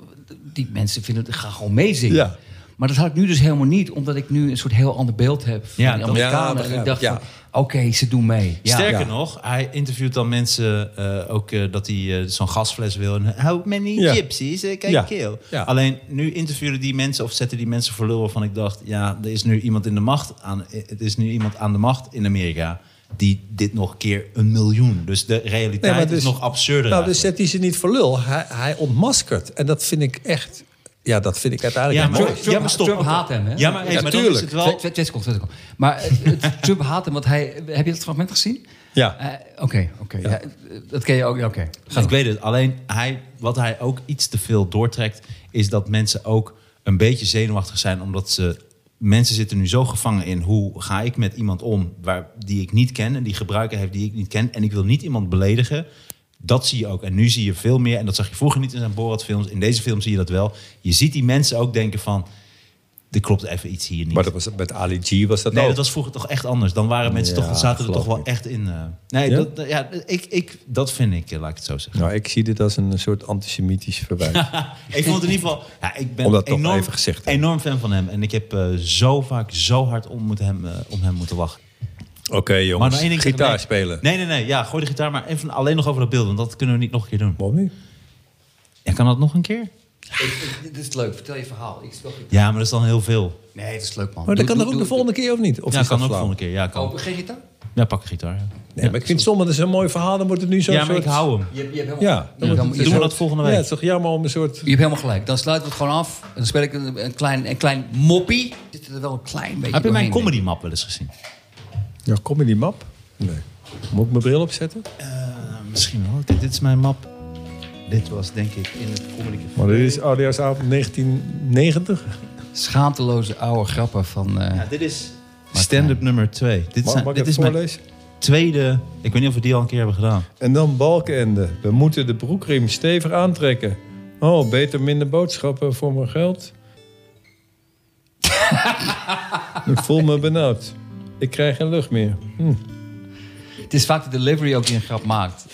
[SPEAKER 3] die mensen vinden het... Ga gewoon meezingen.
[SPEAKER 1] Ja.
[SPEAKER 3] Maar dat had ik nu dus helemaal niet, omdat ik nu een soort heel ander beeld heb van
[SPEAKER 2] Ja,
[SPEAKER 3] die
[SPEAKER 2] dat- ja,
[SPEAKER 3] Amerikanen. en
[SPEAKER 1] begrijp
[SPEAKER 3] ik
[SPEAKER 1] ik,
[SPEAKER 3] dacht,
[SPEAKER 1] ja.
[SPEAKER 3] van, oké, ze doen mee. Ja.
[SPEAKER 2] Sterker
[SPEAKER 1] Ja.
[SPEAKER 2] nog, hij interviewt dan mensen eh, ook eh, dat hij eh, zo'n gasfles wil. En how many
[SPEAKER 1] Ja.
[SPEAKER 2] gypsies? Eh, kijk,
[SPEAKER 1] Ja.
[SPEAKER 2] keel.
[SPEAKER 1] Ja.
[SPEAKER 2] Alleen nu interviewen die mensen of zetten die mensen voor lul waarvan ik dacht, ja, er is nu iemand in de macht aan. eh, Het is nu iemand aan de macht in Amerika die dit nog een keer een miljoen. Dus de realiteit
[SPEAKER 1] maar
[SPEAKER 2] is
[SPEAKER 1] dus-
[SPEAKER 2] nog absurder.
[SPEAKER 1] Nou, dus
[SPEAKER 2] eigenlijk.
[SPEAKER 1] zet hij ze niet voor lul. Hij, hij ontmaskert. En dat vind ik echt... Ja, dat vind ik uiteindelijk
[SPEAKER 2] ja,
[SPEAKER 1] het
[SPEAKER 2] maar,
[SPEAKER 1] mooiste.
[SPEAKER 3] Trump-
[SPEAKER 2] ja, maar stop.
[SPEAKER 3] Trump haat hem, hè?
[SPEAKER 2] Ja, maar, hey,
[SPEAKER 1] Ja,
[SPEAKER 2] maar dan is
[SPEAKER 1] tuurlijk.
[SPEAKER 2] het
[SPEAKER 3] Twee,
[SPEAKER 2] wel.
[SPEAKER 3] twee, twee seconden, twee seconden. Maar eh, het- Trump haat hem, want hij... Heb je dat fragment gezien?
[SPEAKER 1] Ja.
[SPEAKER 3] Eh, Oké, oké. ja, eh, dat ken je ook. ja, Oké, Ga
[SPEAKER 2] Dus Ik
[SPEAKER 3] door.
[SPEAKER 2] weet het. Alleen hij, wat hij ook iets te veel doortrekt, is dat mensen ook een beetje zenuwachtig zijn, omdat ze. Mensen zitten nu zo gevangen in hoe ga ik met iemand om waar, die ik niet ken en die gebruiker heeft die ik niet ken. En ik wil niet iemand beledigen. Dat zie je ook. En nu zie je veel meer. En dat zag je vroeger niet in zijn Borat-films. In deze film zie je dat wel. Je ziet die mensen ook denken van. Er klopt even iets hier niet.
[SPEAKER 1] Maar dat was, met Ali G was dat
[SPEAKER 2] Nee,
[SPEAKER 1] ook.
[SPEAKER 2] dat was vroeger toch echt anders. Dan waren mensen
[SPEAKER 1] Ja,
[SPEAKER 2] toch, zaten er toch
[SPEAKER 1] geloof
[SPEAKER 2] wel
[SPEAKER 1] ik.
[SPEAKER 2] echt in. eh. nee,
[SPEAKER 1] Ja?
[SPEAKER 2] Dat, ja, ik, ik, dat vind ik, eh, laat ik het zo zeggen.
[SPEAKER 1] Nou, ik zie dit als een soort antisemitisch verwijt.
[SPEAKER 2] ik vond het in ieder geval. Ja, ik ben
[SPEAKER 1] Om dat toch
[SPEAKER 2] enorm,
[SPEAKER 1] even gezegd te
[SPEAKER 2] enorm fan van hem. En ik heb eh, zo vaak, zo hard om, moet hem, eh, om hem moeten lachen.
[SPEAKER 1] Oké jongens,
[SPEAKER 2] nog één ding tegen
[SPEAKER 1] gitaar
[SPEAKER 2] mij.
[SPEAKER 1] spelen.
[SPEAKER 2] Nee, nee, nee. Ja, gooi de gitaar maar even alleen nog over dat beeld. Want dat kunnen we niet nog een keer doen.
[SPEAKER 1] Waarom niet?
[SPEAKER 2] Ja, kan dat nog een keer?
[SPEAKER 3] dit is leuk, vertel je verhaal. Ik speel
[SPEAKER 2] Ja, maar dat is dan heel veel.
[SPEAKER 3] Nee, het is leuk, man.
[SPEAKER 1] Maar dat Oh, kan
[SPEAKER 3] Doe-
[SPEAKER 1] er ook
[SPEAKER 3] doe-
[SPEAKER 1] de
[SPEAKER 3] doe-
[SPEAKER 1] volgende keer of niet? Of
[SPEAKER 2] ja,
[SPEAKER 1] is
[SPEAKER 2] kan
[SPEAKER 1] dat
[SPEAKER 2] ook de
[SPEAKER 1] flauw?
[SPEAKER 2] volgende keer. Ja, kan.
[SPEAKER 3] Kopen Oh, geen gitaar?
[SPEAKER 2] Ja, pak een gitaar. Ja,
[SPEAKER 1] Nee, maar ik vind het stom, want het is een mooi verhaal. Dan wordt het nu zo'n
[SPEAKER 2] ja maar
[SPEAKER 1] soort...
[SPEAKER 2] ik hou hem.
[SPEAKER 3] Je, hebt- je hebt
[SPEAKER 1] Ja,
[SPEAKER 3] helemaal, je hebt helemaal- je
[SPEAKER 2] Doen we
[SPEAKER 3] hebt-
[SPEAKER 2] dat volgende week?
[SPEAKER 1] Ja, het is toch jammer om een soort...
[SPEAKER 3] je hebt helemaal gelijk. Dan sluiten we het gewoon af. En dan speel ik een, een klein, een klein moppie. Zit er wel een klein beetje
[SPEAKER 2] Heb je mijn
[SPEAKER 3] doorheen.
[SPEAKER 2] comedy map wel eens gezien?
[SPEAKER 1] Ja, kom in die map. Nee. Moet ik mijn bril opzetten?
[SPEAKER 2] Eh, misschien wel. Kijk, dit is mijn map. Dit was denk ik in het Comedy Café.
[SPEAKER 1] Maar dit is oudejaarsavond 1990.
[SPEAKER 3] Schaamteloze oude grappen van... eh,
[SPEAKER 2] Ja, dit is stand-up nummer 2. Dit,
[SPEAKER 1] Mag,
[SPEAKER 2] zijn,
[SPEAKER 1] mag ik
[SPEAKER 2] dit
[SPEAKER 1] het
[SPEAKER 2] is mijn
[SPEAKER 1] voorlezen?
[SPEAKER 2] tweede... Ik weet niet of we die al een keer hebben gedaan.
[SPEAKER 1] En dan balkenende. We moeten de broekriem stevig aantrekken. Oh, beter minder boodschappen voor mijn
[SPEAKER 2] <laughs>
[SPEAKER 1] geld. ik voel me benauwd. Ik krijg geen lucht meer. Hm.
[SPEAKER 3] Het is vaak de delivery ook die een grap maakt.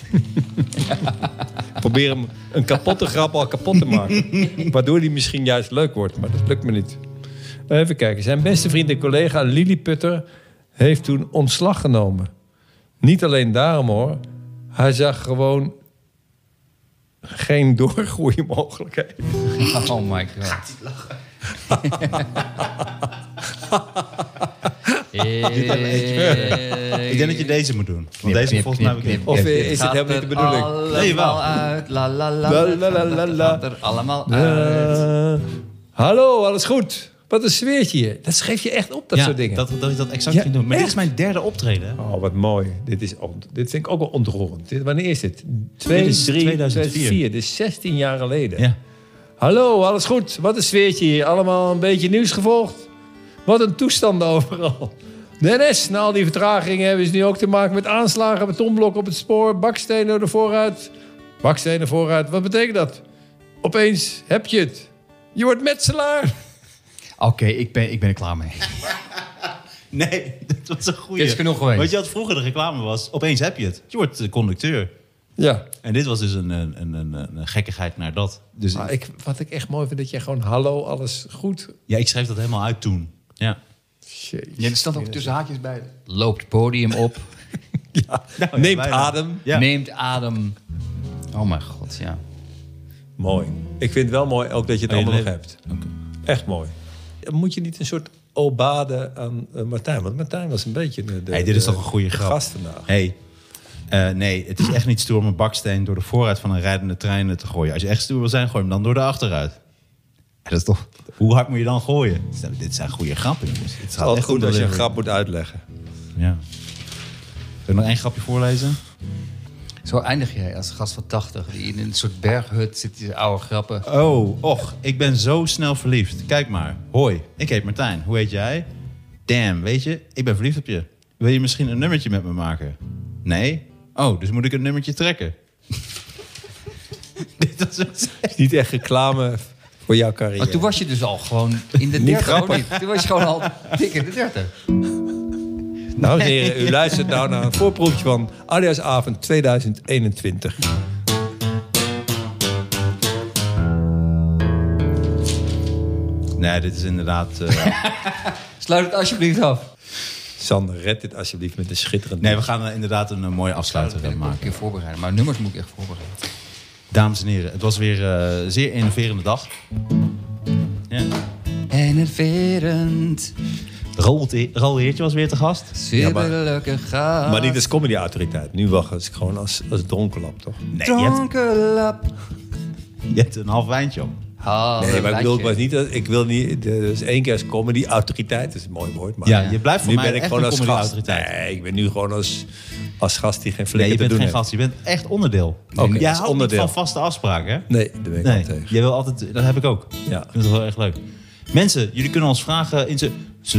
[SPEAKER 3] <laughs>
[SPEAKER 1] Probeer hem een kapotte grap al kapot te maken. Waardoor die misschien juist leuk wordt, maar dat lukt me niet. Even kijken. Zijn beste vriend en collega Lili Putter heeft toen ontslag genomen. Niet alleen daarom hoor. Hij zag gewoon geen doorgroeimogelijkheid.
[SPEAKER 3] Oh my god. <laughs> Eh,
[SPEAKER 2] Ik denk dat je deze moet doen. Want deze volgens mij heb ik niet.
[SPEAKER 1] Of, eh, is het helemaal niet de bedoeling?
[SPEAKER 2] Nee,
[SPEAKER 3] Nee,
[SPEAKER 2] wel.
[SPEAKER 3] wel. Uit. La, la, la,
[SPEAKER 1] La,
[SPEAKER 3] la, la, la, la. Gaat er allemaal uit.
[SPEAKER 1] Eh, hallo, alles goed? Wat een sfeertje hier. Dat schreef je echt op, dat
[SPEAKER 2] Ja,
[SPEAKER 1] soort dingen.
[SPEAKER 2] Dat, dat ik dat exact
[SPEAKER 1] Ja,
[SPEAKER 2] ging doen. Maar dit
[SPEAKER 1] echt?
[SPEAKER 2] is mijn derde optreden. hè?
[SPEAKER 1] Oh, wat mooi. Dit, is, ont- dit vind ik ook wel ontroerend. Dit, wanneer is dit?
[SPEAKER 2] Dit is
[SPEAKER 1] 2003,
[SPEAKER 2] 2004.
[SPEAKER 1] 2004. Dus 16 jaar geleden.
[SPEAKER 2] Ja.
[SPEAKER 1] Hallo, alles goed? Wat een sfeertje hier. Allemaal een beetje nieuws gevolgd? Wat een toestanden overal. Dennis, na al die vertragingen hebben ze nu ook te maken met aanslagen, betonblokken op het spoor, bakstenen door de vooruit. Bakstenen vooruit, wat betekent dat? Opeens heb je het. Je wordt metselaar.
[SPEAKER 3] Oké, ik, ben, ik ben er klaar mee.
[SPEAKER 2] <laughs> Nee, <laughs> dat was een goede.
[SPEAKER 3] Dit is genoeg geweest.
[SPEAKER 2] Weet je wat vroeger de reclame was? Opeens heb je het. Je wordt eh, conducteur.
[SPEAKER 1] Ja.
[SPEAKER 2] En dit was dus een, een, een, een, een gekkigheid naar dat. Dus
[SPEAKER 1] Maar Ah, ik, wat ik echt mooi vind, dat jij gewoon hallo, alles goed.
[SPEAKER 2] ja, ik schreef dat helemaal uit toen. Ja. Oh
[SPEAKER 1] Jezus.
[SPEAKER 3] Ja, er staat ook tussen haakjes bij. Loopt podium op.
[SPEAKER 1] <laughs> Neemt
[SPEAKER 2] Nou bijna.
[SPEAKER 1] adem.
[SPEAKER 2] Ja.
[SPEAKER 3] Neemt adem. Oh mijn god, ja.
[SPEAKER 1] Mooi. Ik vind het wel mooi ook dat je het
[SPEAKER 2] Oh, je
[SPEAKER 1] allemaal nog
[SPEAKER 2] leeft.
[SPEAKER 1] hebt. Echt mooi. Moet je niet een soort obade aan eh, Martijn? Want Martijn was een beetje de, de,
[SPEAKER 2] Hey, dit is
[SPEAKER 1] de-
[SPEAKER 2] toch een goede
[SPEAKER 1] de
[SPEAKER 2] grap.
[SPEAKER 1] gastennaar.
[SPEAKER 2] Hey, eh, nee, het is echt niet stoer om een baksteen door de vooruit van een rijdende trein te gooien. Als je echt stoer wil zijn, gooi hem dan door de achteruit. Ja, dat is toch... Hoe hard moet je dan gooien? Dit zijn goede grappen, jongens. Het gaat
[SPEAKER 1] Altijd
[SPEAKER 2] echt om
[SPEAKER 1] goed als je een
[SPEAKER 2] delivery.
[SPEAKER 1] grap moet uitleggen.
[SPEAKER 2] Ja. Wil ik nog één grapje voorlezen?
[SPEAKER 3] Zo eindig jij als gast van 80. Die in een soort berghut zit, die oude grappen.
[SPEAKER 2] Oh, och, ik ben zo snel verliefd. Kijk maar. Hoi, ik heet Martijn. Hoe heet jij? Damn, weet je, ik ben verliefd op je. Wil je misschien een nummertje met me maken? Nee? Oh, dus moet ik een nummertje trekken? <laughs> Dit was een...
[SPEAKER 1] Is Niet <laughs> echt reclame voor jouw carrière.
[SPEAKER 3] Maar toen was je dus al gewoon in de 30. hoor, niet? Toen was je gewoon al dik in de 30.
[SPEAKER 1] Dames en heren, u luistert nou naar een voorproefje van Oudejaarsavond 2021.
[SPEAKER 2] Nee, dit is inderdaad... <laughs> eh,
[SPEAKER 3] Sluit het alsjeblieft af.
[SPEAKER 1] Sander, red dit alsjeblieft met een schitterend...
[SPEAKER 2] nee, we gaan eh, inderdaad een, eh, mooie afsluiter
[SPEAKER 3] Dat
[SPEAKER 2] eh,
[SPEAKER 3] moet ik een
[SPEAKER 2] maken.
[SPEAKER 3] keer voorbereiden. Maar nummers moet ik echt voorbereiden.
[SPEAKER 2] Dames en heren, het was weer eh, zeer innoverende dag. Ja.
[SPEAKER 3] Enerverend,
[SPEAKER 2] Roald E- Roald Heertje was weer te gast.
[SPEAKER 3] zitterlijke gaaf.
[SPEAKER 1] Maar niet als comedy-autoriteit. Nu wacht het gewoon als, als dronkenlap, toch?
[SPEAKER 2] Nee, je hebt,
[SPEAKER 3] Dronken lap.
[SPEAKER 2] je hebt een half wijntje op.
[SPEAKER 3] Ah,
[SPEAKER 1] Nee, maar ik bedoel,
[SPEAKER 3] lijntje.
[SPEAKER 1] ik, was niet, dat- ik wil niet... Dus één keer als comedy-autoriteit, dat is een mooi woord. Maar
[SPEAKER 2] Ja, je blijft voor
[SPEAKER 1] nu
[SPEAKER 2] mij
[SPEAKER 1] ben ik
[SPEAKER 2] echt
[SPEAKER 1] gewoon
[SPEAKER 2] een
[SPEAKER 1] als gast.
[SPEAKER 2] comedy-autoriteit.
[SPEAKER 1] Nee, ik ben nu gewoon als, als gast die geen
[SPEAKER 2] Nee, je
[SPEAKER 1] flikker te
[SPEAKER 2] bent geen
[SPEAKER 1] doen heeft.
[SPEAKER 2] gast, je bent echt onderdeel.
[SPEAKER 1] Oké, dat
[SPEAKER 2] Jij
[SPEAKER 1] is
[SPEAKER 2] houdt
[SPEAKER 1] onderdeel.
[SPEAKER 2] niet van vaste afspraken, hè?
[SPEAKER 1] Nee, daar ben ik wel
[SPEAKER 2] Nee,
[SPEAKER 1] tegen.
[SPEAKER 2] jij wil altijd, dat heb ik ook.
[SPEAKER 1] Ja.
[SPEAKER 2] Dat is wel echt leuk. Mensen, jullie kunnen ons vragen... In Zullen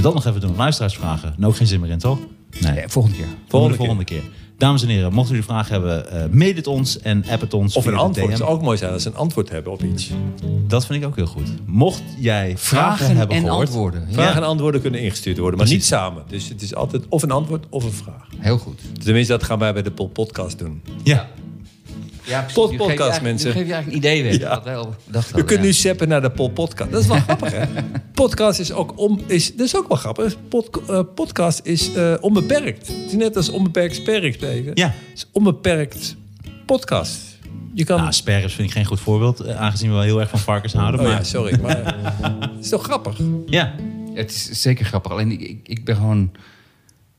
[SPEAKER 2] we dat nog even doen? Luisteraarsvragen. Nou, ook geen zin meer in, toch? Nee.
[SPEAKER 3] Ja, volgende keer.
[SPEAKER 2] Volgende, volgende keer. Dames en heren, mochten jullie vragen hebben, eh mail het ons en app het ons.
[SPEAKER 1] Of
[SPEAKER 2] via
[SPEAKER 1] een
[SPEAKER 2] de
[SPEAKER 1] antwoord. Het
[SPEAKER 2] DM.
[SPEAKER 1] zou ook mooi zijn als ze een antwoord hebben op iets.
[SPEAKER 2] Dat vind ik ook heel goed. Mocht jij vragen,
[SPEAKER 3] Vragen
[SPEAKER 2] hebben
[SPEAKER 3] en
[SPEAKER 2] gehoord,
[SPEAKER 3] antwoorden. Ja,
[SPEAKER 1] Vragen en antwoorden kunnen ingestuurd worden, maar niet samen. Dus het is altijd of een antwoord of een vraag.
[SPEAKER 3] heel goed.
[SPEAKER 1] Tenminste, dat gaan wij bij de Pol podcast doen.
[SPEAKER 2] Ja.
[SPEAKER 3] Ja, precies.
[SPEAKER 1] Pod-
[SPEAKER 3] Nu geef je
[SPEAKER 1] podcast,
[SPEAKER 3] eigenlijk-
[SPEAKER 1] mensen.
[SPEAKER 3] Nu geef je eigenlijk een idee weg.
[SPEAKER 1] Ja.
[SPEAKER 3] Dat wij al dachten.
[SPEAKER 1] U kunt nu zappen naar de Pol podcast. Dat is wel grappig,
[SPEAKER 2] <laughs>
[SPEAKER 1] hè? Podcast is ook, om, is, dat is ook wel grappig. Pod- eh, podcast is eh, onbeperkt. Het is net als onbeperkt sperk even.
[SPEAKER 2] Ja.
[SPEAKER 1] Het is onbeperkt podcast. Je kan...
[SPEAKER 2] Nou, asperges vind ik geen goed voorbeeld, eh, aangezien we wel heel erg van varkens houden.
[SPEAKER 1] oh
[SPEAKER 2] maar
[SPEAKER 1] ja, sorry. Maar het is toch grappig?
[SPEAKER 2] ja,
[SPEAKER 3] Het is zeker grappig. Alleen ik, ik, ik ben gewoon...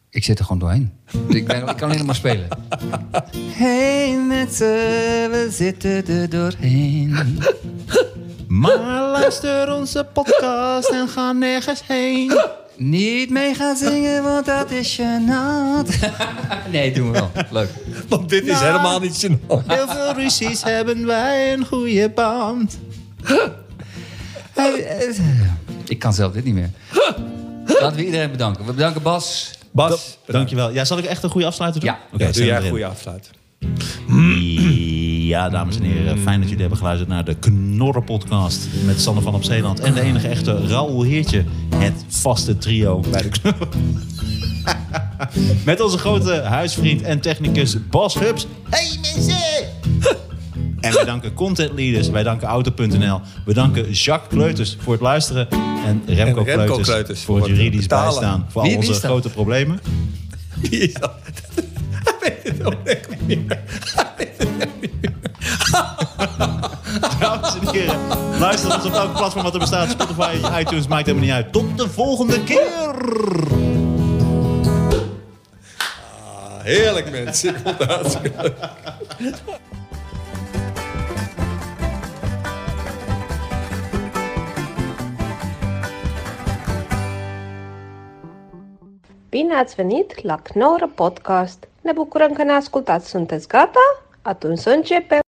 [SPEAKER 3] Ik zit er gewoon doorheen. ik, ben, ik kan alleen maar spelen. Hey mensen, we zitten er doorheen.
[SPEAKER 2] Maar luister onze podcast en ga nergens heen.
[SPEAKER 3] Niet mee gaan zingen, want dat is gênant. <laughs> nee, doen we wel. Leuk.
[SPEAKER 1] <laughs> Want dit is
[SPEAKER 2] Nou.
[SPEAKER 1] helemaal niet gênant.
[SPEAKER 2] Heel veel ruzies hebben wij een goede band.
[SPEAKER 3] eh, Ik kan zelf dit niet meer. Laten we iedereen bedanken. We bedanken Bas.
[SPEAKER 1] Bas,
[SPEAKER 2] Dankjewel. Ja, zal ik echt een goede afsluiter doen?
[SPEAKER 3] Ja.
[SPEAKER 2] Oké,
[SPEAKER 1] ja, doe
[SPEAKER 2] zet
[SPEAKER 1] jij
[SPEAKER 2] hem
[SPEAKER 1] een
[SPEAKER 2] erin.
[SPEAKER 1] goede afsluit. <laughs>
[SPEAKER 2] Ja, dames en heren. Fijn dat jullie hebben geluisterd naar de Knorren-podcast met Sander van op Zeeland. En de enige echte Raoul Heertje. Het vaste trio bij de Knorren. <laughs> Met onze grote huisvriend en technicus Bas Hubs. Hey mensen! <laughs> En wij danken content leaders, wij danken Auto.nl, we danken Jacques Kleuters voor het luisteren en Remco,
[SPEAKER 1] En Remco
[SPEAKER 2] Kleuters,
[SPEAKER 1] Kleuters
[SPEAKER 2] voor het
[SPEAKER 1] voor het
[SPEAKER 2] juridisch
[SPEAKER 1] betalen.
[SPEAKER 2] bijstaan voor al
[SPEAKER 3] Wie- wie
[SPEAKER 2] onze
[SPEAKER 3] is dat?
[SPEAKER 2] grote problemen.
[SPEAKER 1] Wie is dat? <laughs> Hij weet het ook echt niet meer.
[SPEAKER 2] <laughs> Dames en heren, luister ons op elk platform wat er bestaat. Spotify, iTunes, maakt helemaal niet uit. Tot de volgende keer!
[SPEAKER 1] Ah, Heerlijk, mensen. Ik vond het hartstikke leuk.
[SPEAKER 4] Bine ați venit la Knorr Podcast! Ne bucurăm că ne ascultați! Sunteți gata? Atunci să începem!